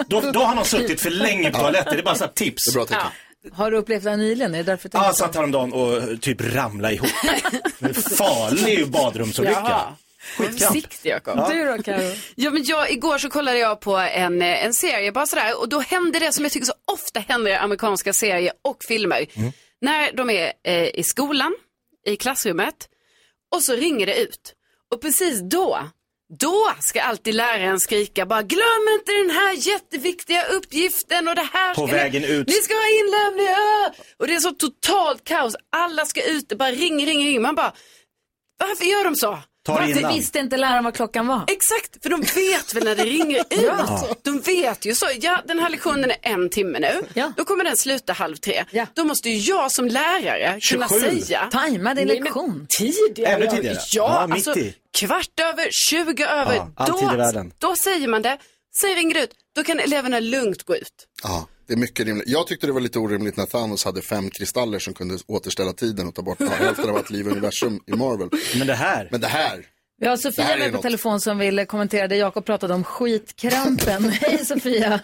S2: Då, då har man suttit för länge på toaletten. Det är bara så här tips. Det är bra
S1: Ja. Har du upplevt det här nyligen? Är det därför du
S2: Ja,
S1: tänker
S2: jag satt häromdagen och eh, typ ramla ihop. Det är en Farlig badrumsolycka.
S18: Jaha.
S2: Skitkamp.
S18: Försiktig, Jakob.
S2: Ja.
S1: Du då, Karo?
S18: Ja, men jag, igår så kollade jag på en, eh, en serie bara sådär och då hände det som jag tycker så ofta händer i amerikanska serier och filmer.
S2: Mm.
S18: När de är eh, i skolan, i klassrummet och så ringer det ut. Och precis då, då ska alltid läraren skrika bara glöm inte den här jätteviktiga uppgiften och det här.
S2: På
S18: ska ni-
S2: vägen ut.
S18: Ni ska ha inlämning. ah!" Och det är så totalt kaos. Alla ska ut, det bara ringer, ringer, ringer. Man bara varför gör de så?
S2: Ta det
S1: Varför
S2: innan.
S1: visste inte läraren vad klockan var?
S18: Exakt, för de vet väl när det ringer ut.
S1: Ja.
S18: De vet ju så. Ja, den här lektionen är en timme nu. Då kommer den sluta halv tre. Då måste ju jag som lärare kunna
S1: 27.
S18: säga.
S1: Tajma din
S18: Nej, men
S1: lektion.
S18: Tidigare.
S2: Ännu tidigare?
S18: Ja,
S2: Ja, mitt
S18: alltså
S2: i.
S18: kvart över, 20 över.
S4: Ja, all tid i
S18: då,
S4: världen.
S18: då säger man det. Sen ringer det ut. Då kan eleverna lugnt gå ut.
S4: Ja, det är mycket rimligt. Jag tyckte det var lite orimligt när Thanos hade fem kristaller som kunde återställa tiden och ta bort hälften av allt liv i universum i Marvel.
S2: Men det här.
S4: Men det här.
S1: Vi har
S4: Det här
S1: Sofia
S4: är
S1: med på
S4: något.
S1: telefon som vill kommentera det Jakob pratade om, skitkrampen. Hej Sofia!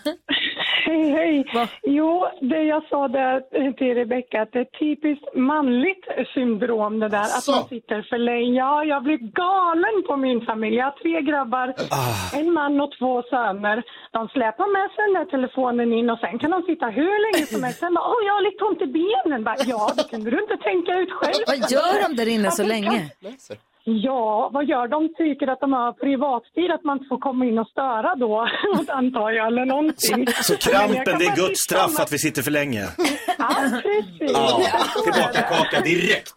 S19: Hej, hej. Jo, det jag sa där till Rebecka, att det är typiskt manligt syndrom det där.
S4: Asså.
S19: Att man sitter för länge. Ja, jag blir galen på min familj. Jag har tre grabbar,
S1: Ah.
S19: en man och två söner. De släpar med sig den där telefonen in och sen kan de sitta hur länge som helst. Sen bara, åh, jag har lite ont i benen. Bara, ja, det kunde du inte tänka ut själv.
S1: Vad gör de där inne så
S19: Att det
S1: länge?
S19: Ja, vad gör de? Tycker att de har privattid, att man inte får komma in och störa då, antar jag, eller någonting.
S2: Så
S19: Men jag
S2: krampen,
S19: kan
S2: det är
S19: bara
S2: Guds
S19: tipsa om
S2: straff att vi sitter för länge.
S19: Ja, precis.
S2: Ja, tillbaka kaka direkt.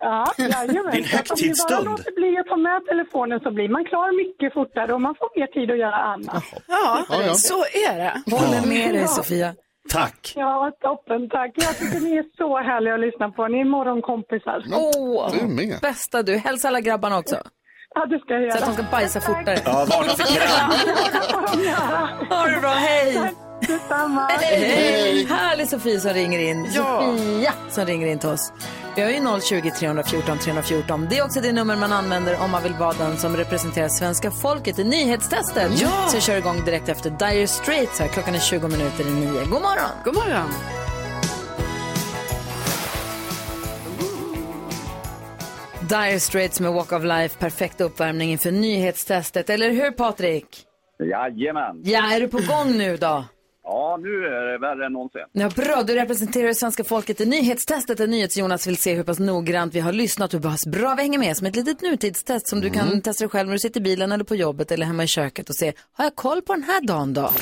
S19: Ja, jajamän.
S2: Din högtidsstund.
S19: Om man bara låter bli att ta med telefonen så blir man klar mycket fortare och man får mer tid att göra annat.
S18: Ja,
S19: Ja, ja.
S18: så är det.
S1: Håller er med dig
S19: Ja.
S1: Sofia.
S2: Tack.
S19: Ja, toppen, tack. Jag tycker ni är så härliga att lyssna på. Ni är morgonkompisar.
S1: Åh, bästa du. Hälsa alla grabbarna också.
S19: Ja, det ska jag göra.
S1: Så att de ska bajsa fortare.
S2: Ja, varna för kramp.
S1: Ha det bra, hej!
S19: Detsamma.
S1: Hej!
S19: Hej.
S1: Härlig Sofie som ringer in. Sofia som ringer in till oss. Vi har ju 020 314 314. Det är också det nummer man använder om man vill vara den som representerar svenska folket i nyhetstestet.
S6: Ja.
S1: Så vi kör igång direkt efter Dire Straits här. Klockan är 20 minuter i nio. God morgon!
S18: God morgon!
S1: Dire Straits med Walk of Life. Perfekt uppvärmning inför nyhetstestet. Eller hur Patrik?
S20: Jajamän.
S1: Ja, är du på gång nu då?
S20: Ja, nu är det värre än någonsin.
S1: Ja, bra, du representerar svenska folket i nyhetstestet där NyhetsJonas vill se hur pass noggrant vi har lyssnat och hur pass bra vi hänger med. Som ett litet nutidstest som du kan testa dig själv när du sitter i bilen eller på jobbet eller hemma i köket och se, har jag koll på den här dagen då?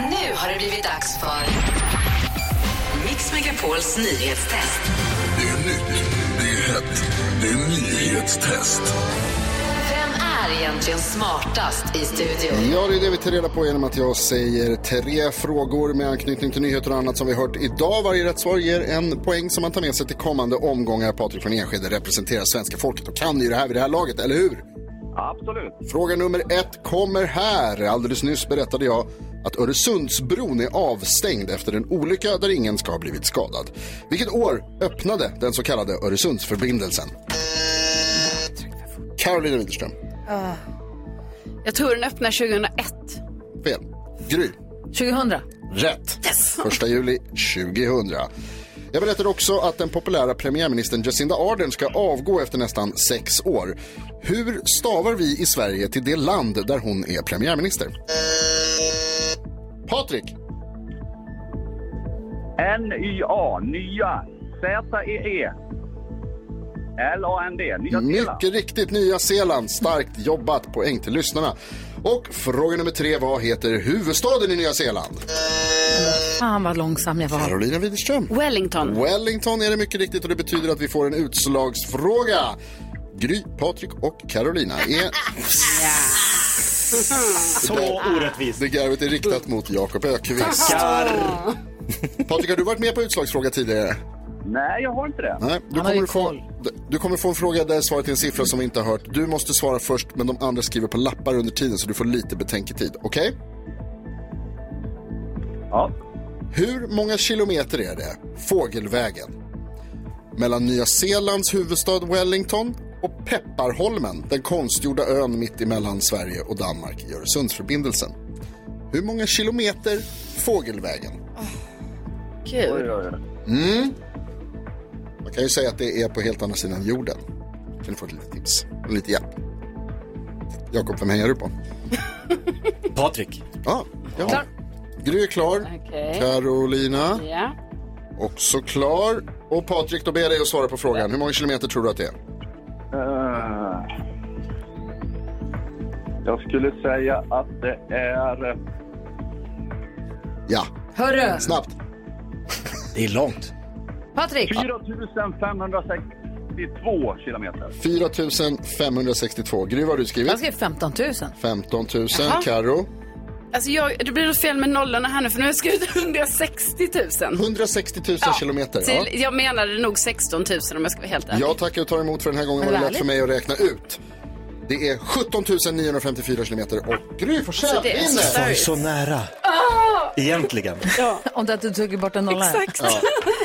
S8: Nu har det blivit dags för Mix Megapols nyhetstest.
S21: Det är nytt, det är hett, det är nyhetstest.
S8: Vem är egentligen smartast i studion?
S4: Ja, det är det vi tar reda på genom att jag säger tre frågor med anknytning till nyheter och annat som vi hört idag. Varje rätt svar ger en poäng som man tar med sig till kommande omgångar. Patrik från Enskede representerar svenska folket och kan ju det här vid det här laget, eller hur?
S20: Absolut.
S4: Fråga nummer ett kommer här. Alldeles nyss berättade jag att Öresundsbron är avstängd efter en olycka där ingen ska ha blivit skadad. Vilket år öppnade den så kallade Öresundsförbindelsen? Carolina Widerström.
S18: Ah. Jag tror den öppnar 2001.
S4: Fel. Gry.
S1: 2000.
S4: Rätt. Första juli 2000. Jag berättade också att den populära premiärministern Jacinda Ardern ska avgå efter nästan sex år. Hur stavar vi i Sverige till det land där hon är premiärminister? Patrik.
S20: N-Y-A, nya. E Z-E-E. L-A-N-D, nya delar.
S4: Mycket riktigt, Nya Zeeland. Starkt jobbat. Poäng till lyssnarna. Och fråga nummer tre. Vad heter huvudstaden i Nya Zeeland?
S1: Fan vad långsam jag var.
S4: Carolina Widerström.
S18: Wellington.
S4: Wellington är det mycket riktigt och det betyder att vi får en utslagsfråga. Gry, Patrik och Carolina är...
S2: Så orättvist.
S4: Det garvet är riktat mot Jakob Ökvist.
S2: Tackar.
S4: Patrik, har du varit med på utslagsfråga tidigare?
S20: Nej, jag har inte det.
S4: Nej, du kommer, få, du kommer få en fråga där svaret är en siffra som vi inte har hört. Du måste svara först, men de andra skriver på lappar under tiden så du får lite betänketid. Okej?
S20: Ja.
S4: Hur många kilometer är det, fågelvägen, mellan Nya Zeelands huvudstad Wellington och Pepparholmen, den konstgjorda ön mitt emellan Sverige och Danmark i Öresundsförbindelsen? Hur många kilometer fågelvägen?
S18: Kul.
S4: Mm. Man kan ju säga att det är på helt andra sidan jorden. Kan du få ett litet tips? Och lite hjälp. Jakob, vem hejar du på?
S2: Patrik.
S4: Ja, ja. Gry är klar.
S18: Okej.
S4: Carolina,
S18: Ja.
S4: också klar. Och Patrik, då ber jag dig att svara på frågan. Hur många kilometer tror du att det är?
S20: Eh, jag skulle säga att det är... eh,
S4: Ja.
S1: Hörru.
S4: Snabbt.
S2: Det är långt.
S1: Patrik.
S20: 4560. 562 kilometer.
S4: 4562. Gry, vad har du skrivit?
S1: Jag skrev 15 000.
S4: 15 000.
S18: Jaha.
S4: Karo.
S18: Alltså jag, det blir något fel med nollorna här nu för nu har jag skrivit 160 000.
S4: 160 000 kilometer.
S18: Till,
S4: ja.
S18: Jag menade nog 16 000 om jag ska vara helt ärlig.
S4: Jag tackar och tar emot för den här gången. var
S18: Men
S4: Det lätt
S18: ärligt.
S4: för mig att räkna ut. Det är 17 954 kilometer och Gry Forssell
S1: Så det är
S4: vinner.
S1: så
S2: Var så nära, egentligen.
S1: Ah! Om du hade tagit bort en nolla. här.
S2: Exakt.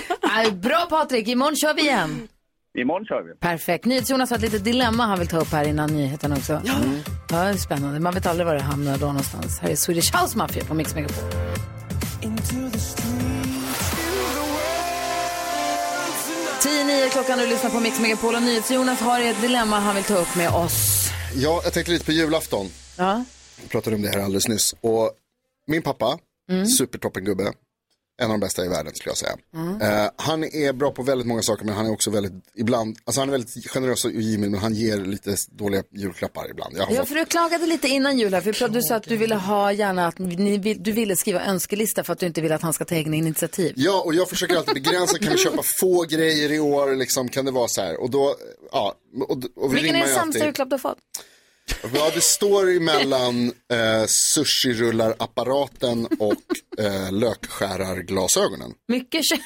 S2: Ja.
S1: Nej, Bra Patrik, imorgon kör vi igen.
S20: Imorgon kör vi.
S1: Perfekt. NyhetsJonas har ett litet dilemma han vill ta upp här innan nyheterna också. Ja. ja, det är spännande. Man vet aldrig var det hamnar då någonstans. Här är Swedish House Mafia på Mix Megapol.
S14: Into the streets.
S1: 10-9 klockan och du lyssnar på Mix Megapol och NyhetsJonas har ett dilemma han vill ta upp med oss.
S4: Ja, jag tänkte lite på julafton.
S1: Ja.
S4: Vi pratade om det här alldeles nyss. Och min pappa,
S1: Mm.
S4: supertoppengubbe, en av de bästa i världen skulle jag säga.
S14: Mm.
S4: Eh, han är bra på väldigt många saker men han är också väldigt, ibland, alltså han är väldigt generös och givmild men han ger lite dåliga julklappar ibland. Jag har
S1: Ja,
S4: fått-
S1: för du klagade lite innan jul här, för du sa att du ville ha gärna att ni, vill- du ville skriva önskelista för att du inte vill att han ska ta egna initiativ.
S4: Ja, och jag försöker alltid begränsa, kan vi köpa få grejer i år, liksom, kan det vara så här? Och då, ja, och, och vi
S1: Vilken är
S4: rimmar
S1: den
S4: ju
S1: sämsta
S4: alltid.
S1: julklapp du har fått?
S4: Ja, det står emellan eh, sushi-rullarapparaten och eh, lökskärarglasögonen.
S1: Mycket kä-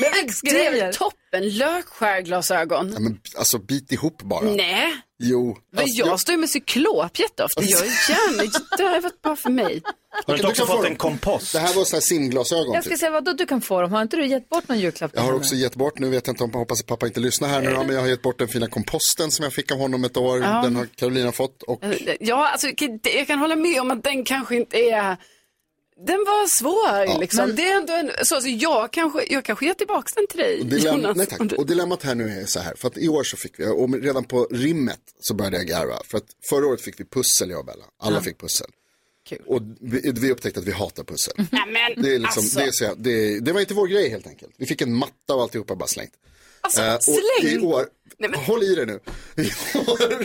S18: Men det är väl toppen, lökskärglasögon.
S4: Ja, men, alltså bit ihop bara.
S18: Nej,
S4: Jo.
S18: men
S4: Alltså,
S18: jag står ju med cyklop jätteofta. Jag är gärna, det har varit bra för mig.
S4: Okej, du kan få dem. Det här var så här simglasögon.
S1: Jag ska
S4: Typ.
S1: säga vad du kan få dem. Har inte du gett bort någon julklapp? till
S4: Jag har
S1: henne?
S4: också gett bort, nu vet jag inte om hoppas att pappa inte lyssnar här nu, men jag har gett bort den fina komposten som jag fick av honom ett år.
S18: Ja.
S4: Den har Carolina fått och
S18: Ja, alltså, jag kan hålla med om att den kanske inte är... Den var svår liksom.
S4: Men-
S18: Det är ändå en... så, alltså, jag, kanske, jag kanske ger tillbaka den till dig,
S4: Och, dilemma,
S18: Jonas.
S4: nej, tack. och dilemmat här nu är så här, för att i år så fick vi, och redan på rimmet så började jag garva, för att förra året fick vi pussel jag och Bella, alla
S18: Ja.
S4: fick pussel. Och vi, vi upptäckte att vi hatar pussel.
S18: men,
S4: Det, är liksom,
S18: alltså.
S4: det, är så, här- det, det var inte vår grej helt enkelt. Vi fick en matta och alltihopa bara slängt.
S18: Alltså,
S4: Eh, och i
S18: släng!
S4: år, håll i dig nu, i år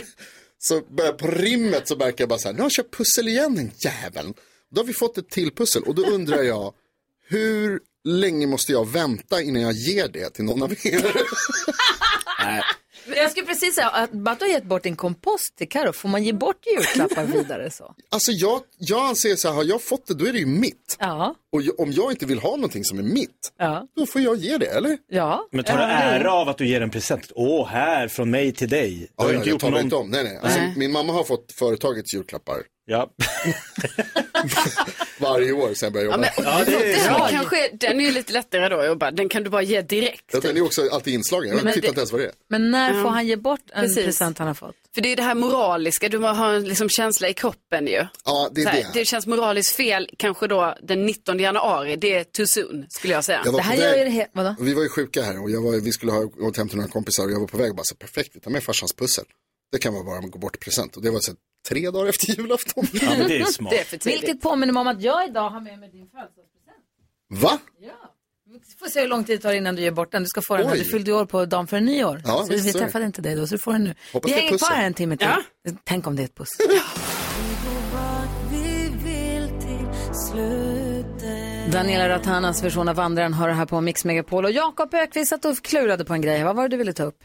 S4: så börjar på rimmet så verkar jag bara så här, nu har jag köpt pussel igen den jäveln. Då har vi fått ett till pussel och då undrar jag, hur länge måste jag vänta innan jag ger det till någon av er? Nej.
S1: Jag skulle precis säga att bara att du har gett bort din kompost till Karo, får man ge bort julklappar vidare så?
S4: Alltså jag, jag anser så här, har jag fått det då är det ju mitt.
S1: Ja.
S4: Och jag, om jag inte vill ha någonting som är mitt, då får jag ge det, eller?
S1: Ja.
S2: Men tar du ära av att du ger en present? Åh, här, från mig till dig. Du
S4: Ja,
S2: har
S4: ja,
S2: inte
S4: jag
S2: gjort
S4: tar mig
S2: någon-
S4: inte om. Nej, nej. Alltså,
S2: Nej.
S4: Min mamma har fått företagets julklappar.
S2: Ja.
S4: Varje år sen jag började
S18: Ja,
S4: jobba.
S18: men, den, kanske, den är ju lite lättare då. Jag bara, den kan du bara ge direkt.
S4: Jag Den är också alltid inslagen. Jag
S18: Men
S4: har
S18: det-
S4: tittat ens vad det är.
S1: Men när
S18: Ja.
S1: får han ge bort en
S18: Precis.
S1: present han har fått?
S18: För det är ju det här moraliska, du har en liksom känsla i kroppen ju.
S4: Ja, det är
S18: Så här,
S4: det.
S18: det känns moraliskt fel kanske då den 19 januari, det är too soon skulle jag säga.
S4: Jag var Det här på väg- gör ju det
S1: helt, vadå?
S4: Och Vi var ju sjuka här och jag var, vi skulle ha gått hem till några kompisar och jag var på väg och bara så perfekt, vi tar med farsans pussel. Det kan vara bara en gå bort present och det var så här, tre dagar efter julafton. Ja,
S2: men
S1: Vilket påminner mig om att jag idag har med mig din födelsedag.
S4: Va?
S1: Vi får se hur lång tid det tar innan du ger bort den. Du ska få den när
S4: Oj.
S1: du fyllde år på dagen före nyår.
S4: Ja,
S1: så
S4: visst,
S1: vi
S4: så är det.
S1: träffade inte dig då, så du får den nu.
S4: Hoppas
S1: vi
S4: det är
S1: hänger kvar
S4: pussel.
S1: här en timme till. Tänk om det är ett pussel. Daniela Ratanas version av Vandraren har det här på Mix Megapol. Och Jakob Ökvist att du klurade på en grej. Vad var det du ville ta upp?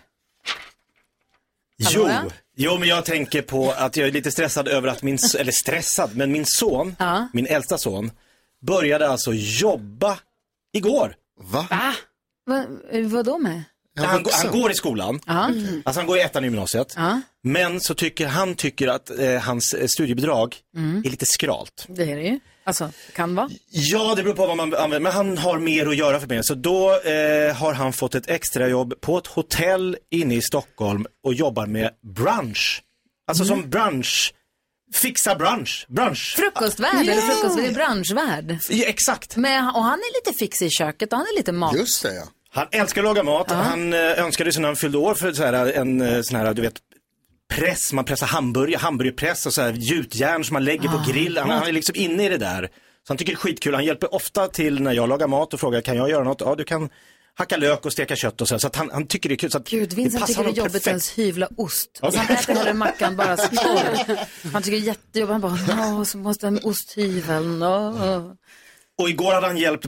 S2: Jo. jo, men jag tänker på att jag är lite stressad över att min, eller stressad, men min son, min äldsta son, började alltså jobba igår.
S4: Va?
S1: Va, vad då med?
S2: Han, går- han går i skolan,
S1: Ja.
S2: alltså han går i ettan i gymnasiet, men så tycker han tycker att eh, hans eh, studiebidrag är lite skralt.
S1: Det är det ju. Alltså, kan vara.
S2: Ja, det beror på vad man använder, men han har mer att göra för mig. Så då eh, har han fått ett extrajobb på ett hotell inne i Stockholm och jobbar med brunch. Alltså som brunch, fixa brunch, brunch.
S1: Frukostvärd eller frukost, det är branschvärd.
S2: Ja, exakt.
S1: Men, och han är lite fix i köket och han är lite mat.
S4: Just det, ja.
S2: Han älskar att laga mat. Han eh, önskade sig när han fyllde år för så här, en eh, sån här, du vet, press, man pressar hamburgare, hamburgerpress och så här gjutjärn som man lägger
S14: Ah.
S2: på grill. Han, han är liksom inne i det där. Så han tycker det är skitkul. Han hjälper ofta till när jag lagar mat och frågar kan jag göra något? Ja, du kan hacka lök och steka kött och så. Här. Så att han, han tycker det är kul. Så att Gud,
S1: Vincent tycker det är jobbigt att ens hyvla ost.
S2: Ja.
S1: Alltså han äter hellre mackan bara så Han tycker det är jättejobbigt. Han bara, åh, så måste jag ha med osthyveln. åh, åh."
S2: Och igår hade han hjälpt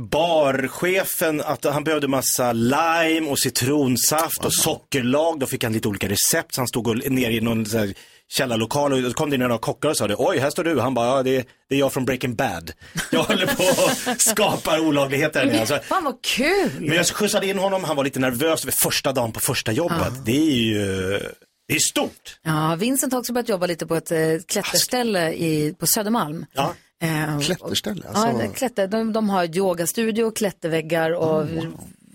S2: barchefen att han behövde massa lime och citronsaft och sockerlag. Då fick han lite olika recept. Så han stod och ner i någon så här källarlokal och då kom det in några kockar och sa det. Oj, här står du. Han bara, ja, det, är, det är jag från Breaking Bad. Jag håller på och skapar olagligheter. här nere." Alltså,
S10: Fan vad kul!
S2: men jag skjutsade in honom. Han var lite nervös över första dagen på första jobbet. Det är ju det är stort.
S1: Ja, Vincent har också börjat jobba lite på ett eh, klätterställe i, på Södermalm.
S2: Ja.
S1: Eh,
S4: Klätterställe? alltså.
S1: Ja, det- klätter, de, de har yogastudio, klätterväggar och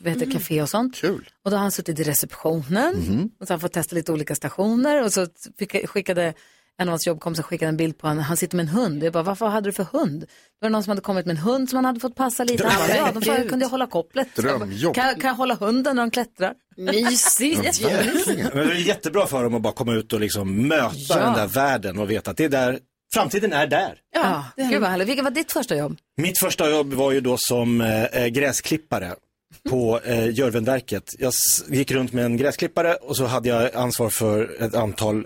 S1: vad heter, det, café och sånt.
S4: Kul.
S1: Och då har han suttit i receptionen
S11: Mhm.
S1: och så har han fått testa lite olika stationer och så fick- skickade en av hans jobbkompisar skickade en bild på honom. Han sitter med en hund. Jag bara, varför hade du för hund? Då var det någon som hade kommit med en hund som han hade fått passa lite. Han bara, ja, de får,
S10: Herregud.
S1: kunde jag hålla kopplet. Så jag bara,
S2: Drömjobb.
S1: Kan, jag- kan jag hålla hunden när de klättrar?
S10: Mysigt.
S1: Ja,
S2: Men det är jättebra för dem att bara komma ut och liksom möta
S1: Ja.
S2: den där världen och veta att det är där, framtiden är där.
S1: Ja, gud vad härligt. Vilket var ditt första jobb?
S2: Mitt första jobb var ju då som eh, gräsklippare på eh, Jörvenverket. Jag s- gick runt med en gräsklippare och så hade jag ansvar för ett antal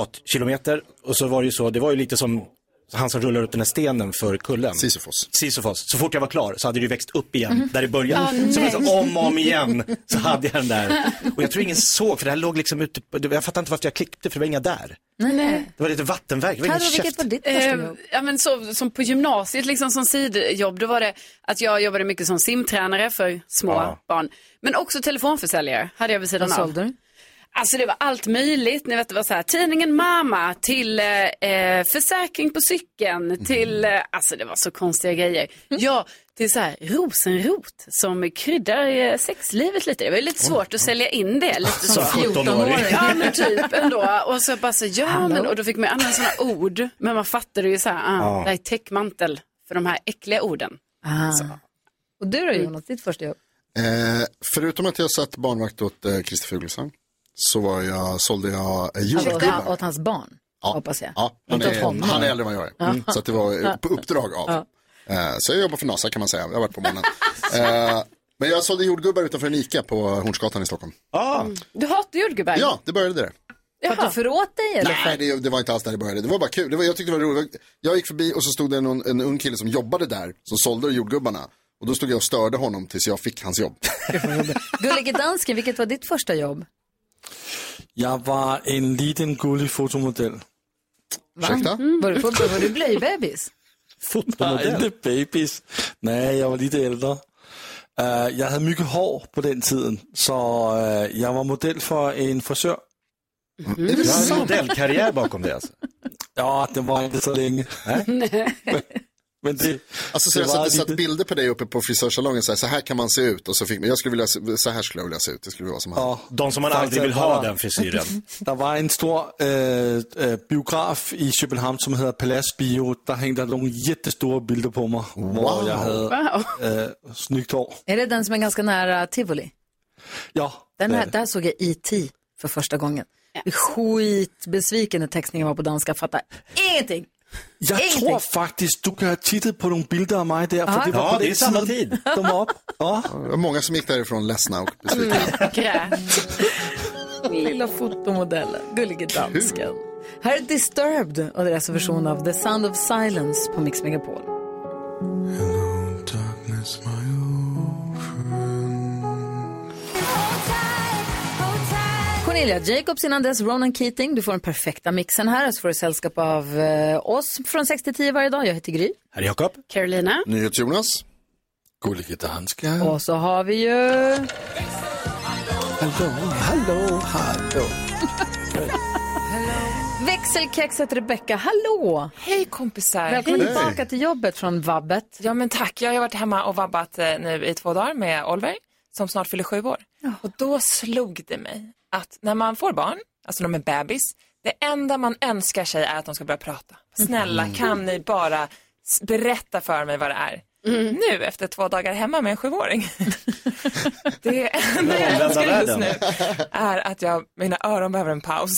S2: kvadratkilometer. Och så var det ju så, det var ju lite som han som rullar upp den här stenen för kullen.
S4: Sisyfos.
S2: Sisyfos. Så fort jag var klar så hade det ju växt upp igen där i början.
S4: Ah,
S2: så
S4: nej.
S2: jag sa, om och om igen så hade jag den där. Och jag tror ingen såg för det här låg liksom ute, på, jag fattar inte varför jag klippte för det var inga där.
S1: Nej, nej.
S2: Det var lite vattenverk, det var ingen käft.
S1: ditt
S2: första
S6: Eh,
S18: jobb? Ehm, Ja, men så, som på gymnasiet, liksom som sidjobb, då var det att jag jobbade mycket som simtränare för små
S2: Ja.
S18: barn. Men också telefonförsäljare hade jag vid sidan
S1: Vad
S18: av.
S1: sålde du?
S18: Alltså det var allt möjligt. Ni vet det var så här, tidningen Mamma till eh, eh, försäkring på cykeln
S2: Mhm.
S18: till, eh, alltså det var så konstiga grejer.
S1: Mm.
S18: Ja, till så här rosenrot som kryddar eh, sexlivet lite. Det var ju lite svårt att sälja in det. Lite så.
S2: Som 14-åring.
S18: Ja men typ ändå. Och så bara så, ja men, och då fick man ju använda sådana ord. Men man fattade ju så här, ah,
S4: Ja.
S18: det här är täckmantel för de här äckliga orden. Mm.
S1: Ah. Och du då Jonas, ditt första jobb?
S4: Eh, förutom att jag satt barnvakt åt eh, Christer Fuglesang så var jag, sålde jag eh,
S1: Alltså, åt,
S4: julgubbar.
S1: åt hans barn, hoppas jag.
S4: Ja, han,
S1: Inte åt
S4: är,
S1: honom.
S4: han är äldre än vad jag är.
S1: Ja.
S4: Mm. Så att det var eh, på uppdrag av.
S1: Ja.
S4: Eh, så jag jobbar för NASA kan man säga. Jag har varit på månen. eh, men jag sålde jordgubbar utanför en Ica på Hornsgatan i Stockholm.
S18: Du hatar jordgubbar?
S4: Ja, det började där.
S1: För att du föråt dig eller?
S4: Nej, det, det var inte alls där det började. Det var bara kul. Det var, jag tyckte det var roligt. Jag gick förbi och så stod det en, en ung kille som jobbade där, som sålde jordgubbarna. Och då stod jag och störde honom tills jag fick hans jobb.
S1: Gullige dansken, vilket var ditt första jobb?
S9: Jeg var en liten gullig fotomodel.
S1: Va? Mm. Var, du, på- var du blöjbebis?
S9: Fotomodel? Nej, ikke babies. Nej, jeg var lidt ældre. Øh, jeg havde mygge hår på den tiden, så øh, jeg var model for en frisør.
S2: Mm. Det er en modelkarriere bakom det, altså.
S9: Ja, den var ikke så længe. Men det,
S4: Alltså, så
S9: det
S4: jag
S9: var
S4: satte,
S9: lite-
S4: satte bilder på dig uppe på frisörsalongen, så här, så här kan man se ut. Och så, fick, jag skulle vilja, se- så här skulle jag vilja se ut, det skulle vara som han.
S9: Ja,
S2: De som man
S9: Faktisk,
S2: aldrig vill
S9: der
S2: ha,
S9: var-
S2: den frisyren.
S9: Der var en stor øh, øh, biograf i København, som hedder Palace Bio. Der hængte der nogle jättestore billeder på mig, wow. hvor jeg havde øh, snygt hår.
S1: Är det den som är ganska nära Tivoli?
S9: Ja,
S1: Den
S9: det
S1: här,
S9: er det.
S1: där såg jag IT för första gången. Skitbesviken när textningen var på danska, fattar ingenting.
S9: Jeg tror faktisk, du kan have tittet på nogle billeder af mig der, for
S1: Ah.
S9: det var
S1: Ja,
S9: på
S1: det
S9: den
S1: er samme
S9: tiden, de var op. Ja.
S4: Det var många som gick därifrån ledsna och besvikna.
S1: Lilla fotomodellen, gullige dansken. Här är Disturbed och deras version av The Sound of Silence på Mix Megapol. Cornelia Jacobs innan dess, Ronan Keating. Du får den perfekta mixen här. Så får du sällskap av eh, oss från 6 till 10 varje dag. Jag heter Gry.
S2: Herr Jakob.
S18: Carolina.
S4: NyhetsJonas.
S9: Gullige danske.
S1: Och så har vi ju...
S9: Hallå, hallå, hallå.
S1: Växelkexet Rebecka, hallå!
S22: Hej kompisar!
S1: Välkommen tillbaka till jobbet från vabbet.
S22: Ja men tack, jag har ju varit hemma och vabbat eh, nu i två dagar med Oliver som snart fyller sju år. Och då slog det mig att när man får barn, alltså när de är bebis, det enda man önskar sig är att de ska börja prata. Snälla
S23: Mm.
S22: kan ni bara s- berätta för mig vad det är.
S23: Mm.
S22: Nu efter två dagar hemma med en sjuåring. det enda jag
S23: Omvända
S22: önskar just
S23: världen.
S22: nu är att jag, mina öron behöver en paus.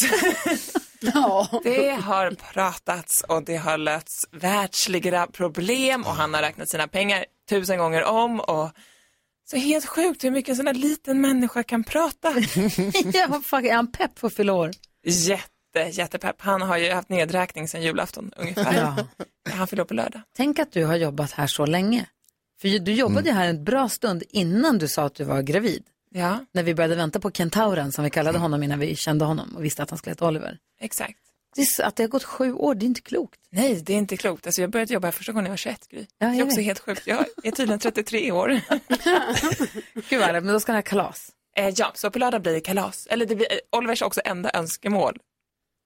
S22: Det har pratats och det har lösts världsliga problem och han har räknat sina pengar tusen gånger om och så helt sjukt hur mycket en sån här liten människa kan prata.
S1: ja, fuck, är han pepp för att fylla år?
S22: Jätte, jättepepp. Han har ju haft nedräkning sedan julafton ungefär. Han fyller år på lördag.
S1: Tänk att du har jobbat här så länge. För du jobbade
S22: Mm.
S1: ju här en bra stund innan du sa att du var gravid.
S22: Ja,
S1: När vi började vänta på kentauren som vi kallade
S22: Mm.
S1: honom innan vi kände honom och visste att han skulle heta Oliver.
S22: exakt.
S1: Det är så- att det har gått sju år, det är inte klokt.
S22: Nej, det är inte klokt. Alltså, jag började jobba här första gången jag var 21, Gry.
S1: Ja,
S22: det är
S1: jag
S22: också
S1: vet.
S22: helt sjukt. Jag är tydligen 33 år.
S1: Gud vad men då ska det ha kalas.
S22: Eh, ja, så på lördag blir det kalas. Eller det blir, eh, Olivers också enda önskemål.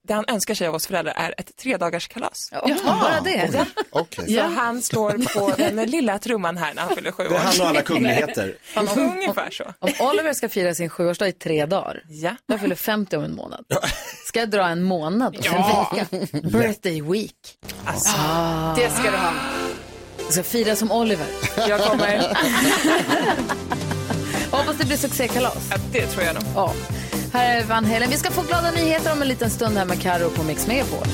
S22: Det han önskar sig av oss föräldrar är ett tredagars kalas.
S1: bara det?
S22: Ja.
S19: Okej.
S22: Så han slår på den lilla trumman här när han fyller sju år.
S19: Det är han och alla kungligheter.
S22: Ungefär så.
S1: Om Oliver ska fira sin sjuårsdag i tre dagar,
S22: ja.
S1: jag fyller 50 om en månad. Ska jag dra en månad och
S6: Ja.
S1: en vecka? Birthday week. Ah.
S22: Alltså,
S6: det ska du ha.
S1: Jag ska fira som Oliver.
S22: Jag kommer.
S1: Hoppas det blir succékalas.
S22: Ja, det tror jag nog.
S1: Ja. Här är Van Halen. Vi ska få glada nyheter om en liten stund här med Karo på Mix Megapol.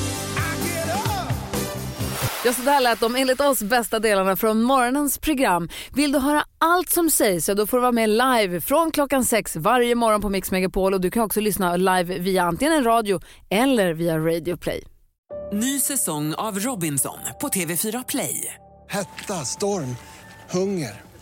S1: Ja, så där lät de enligt oss bästa delarna från morgonens program. Vill du höra allt som sägs så då får du vara med live från klockan sex varje morgon på Mix Megapol och du kan också lyssna live via antingen en radio eller via Radio Play.
S5: Ny säsong av Robinson på TV4 Play.
S24: Hetta, storm, hunger.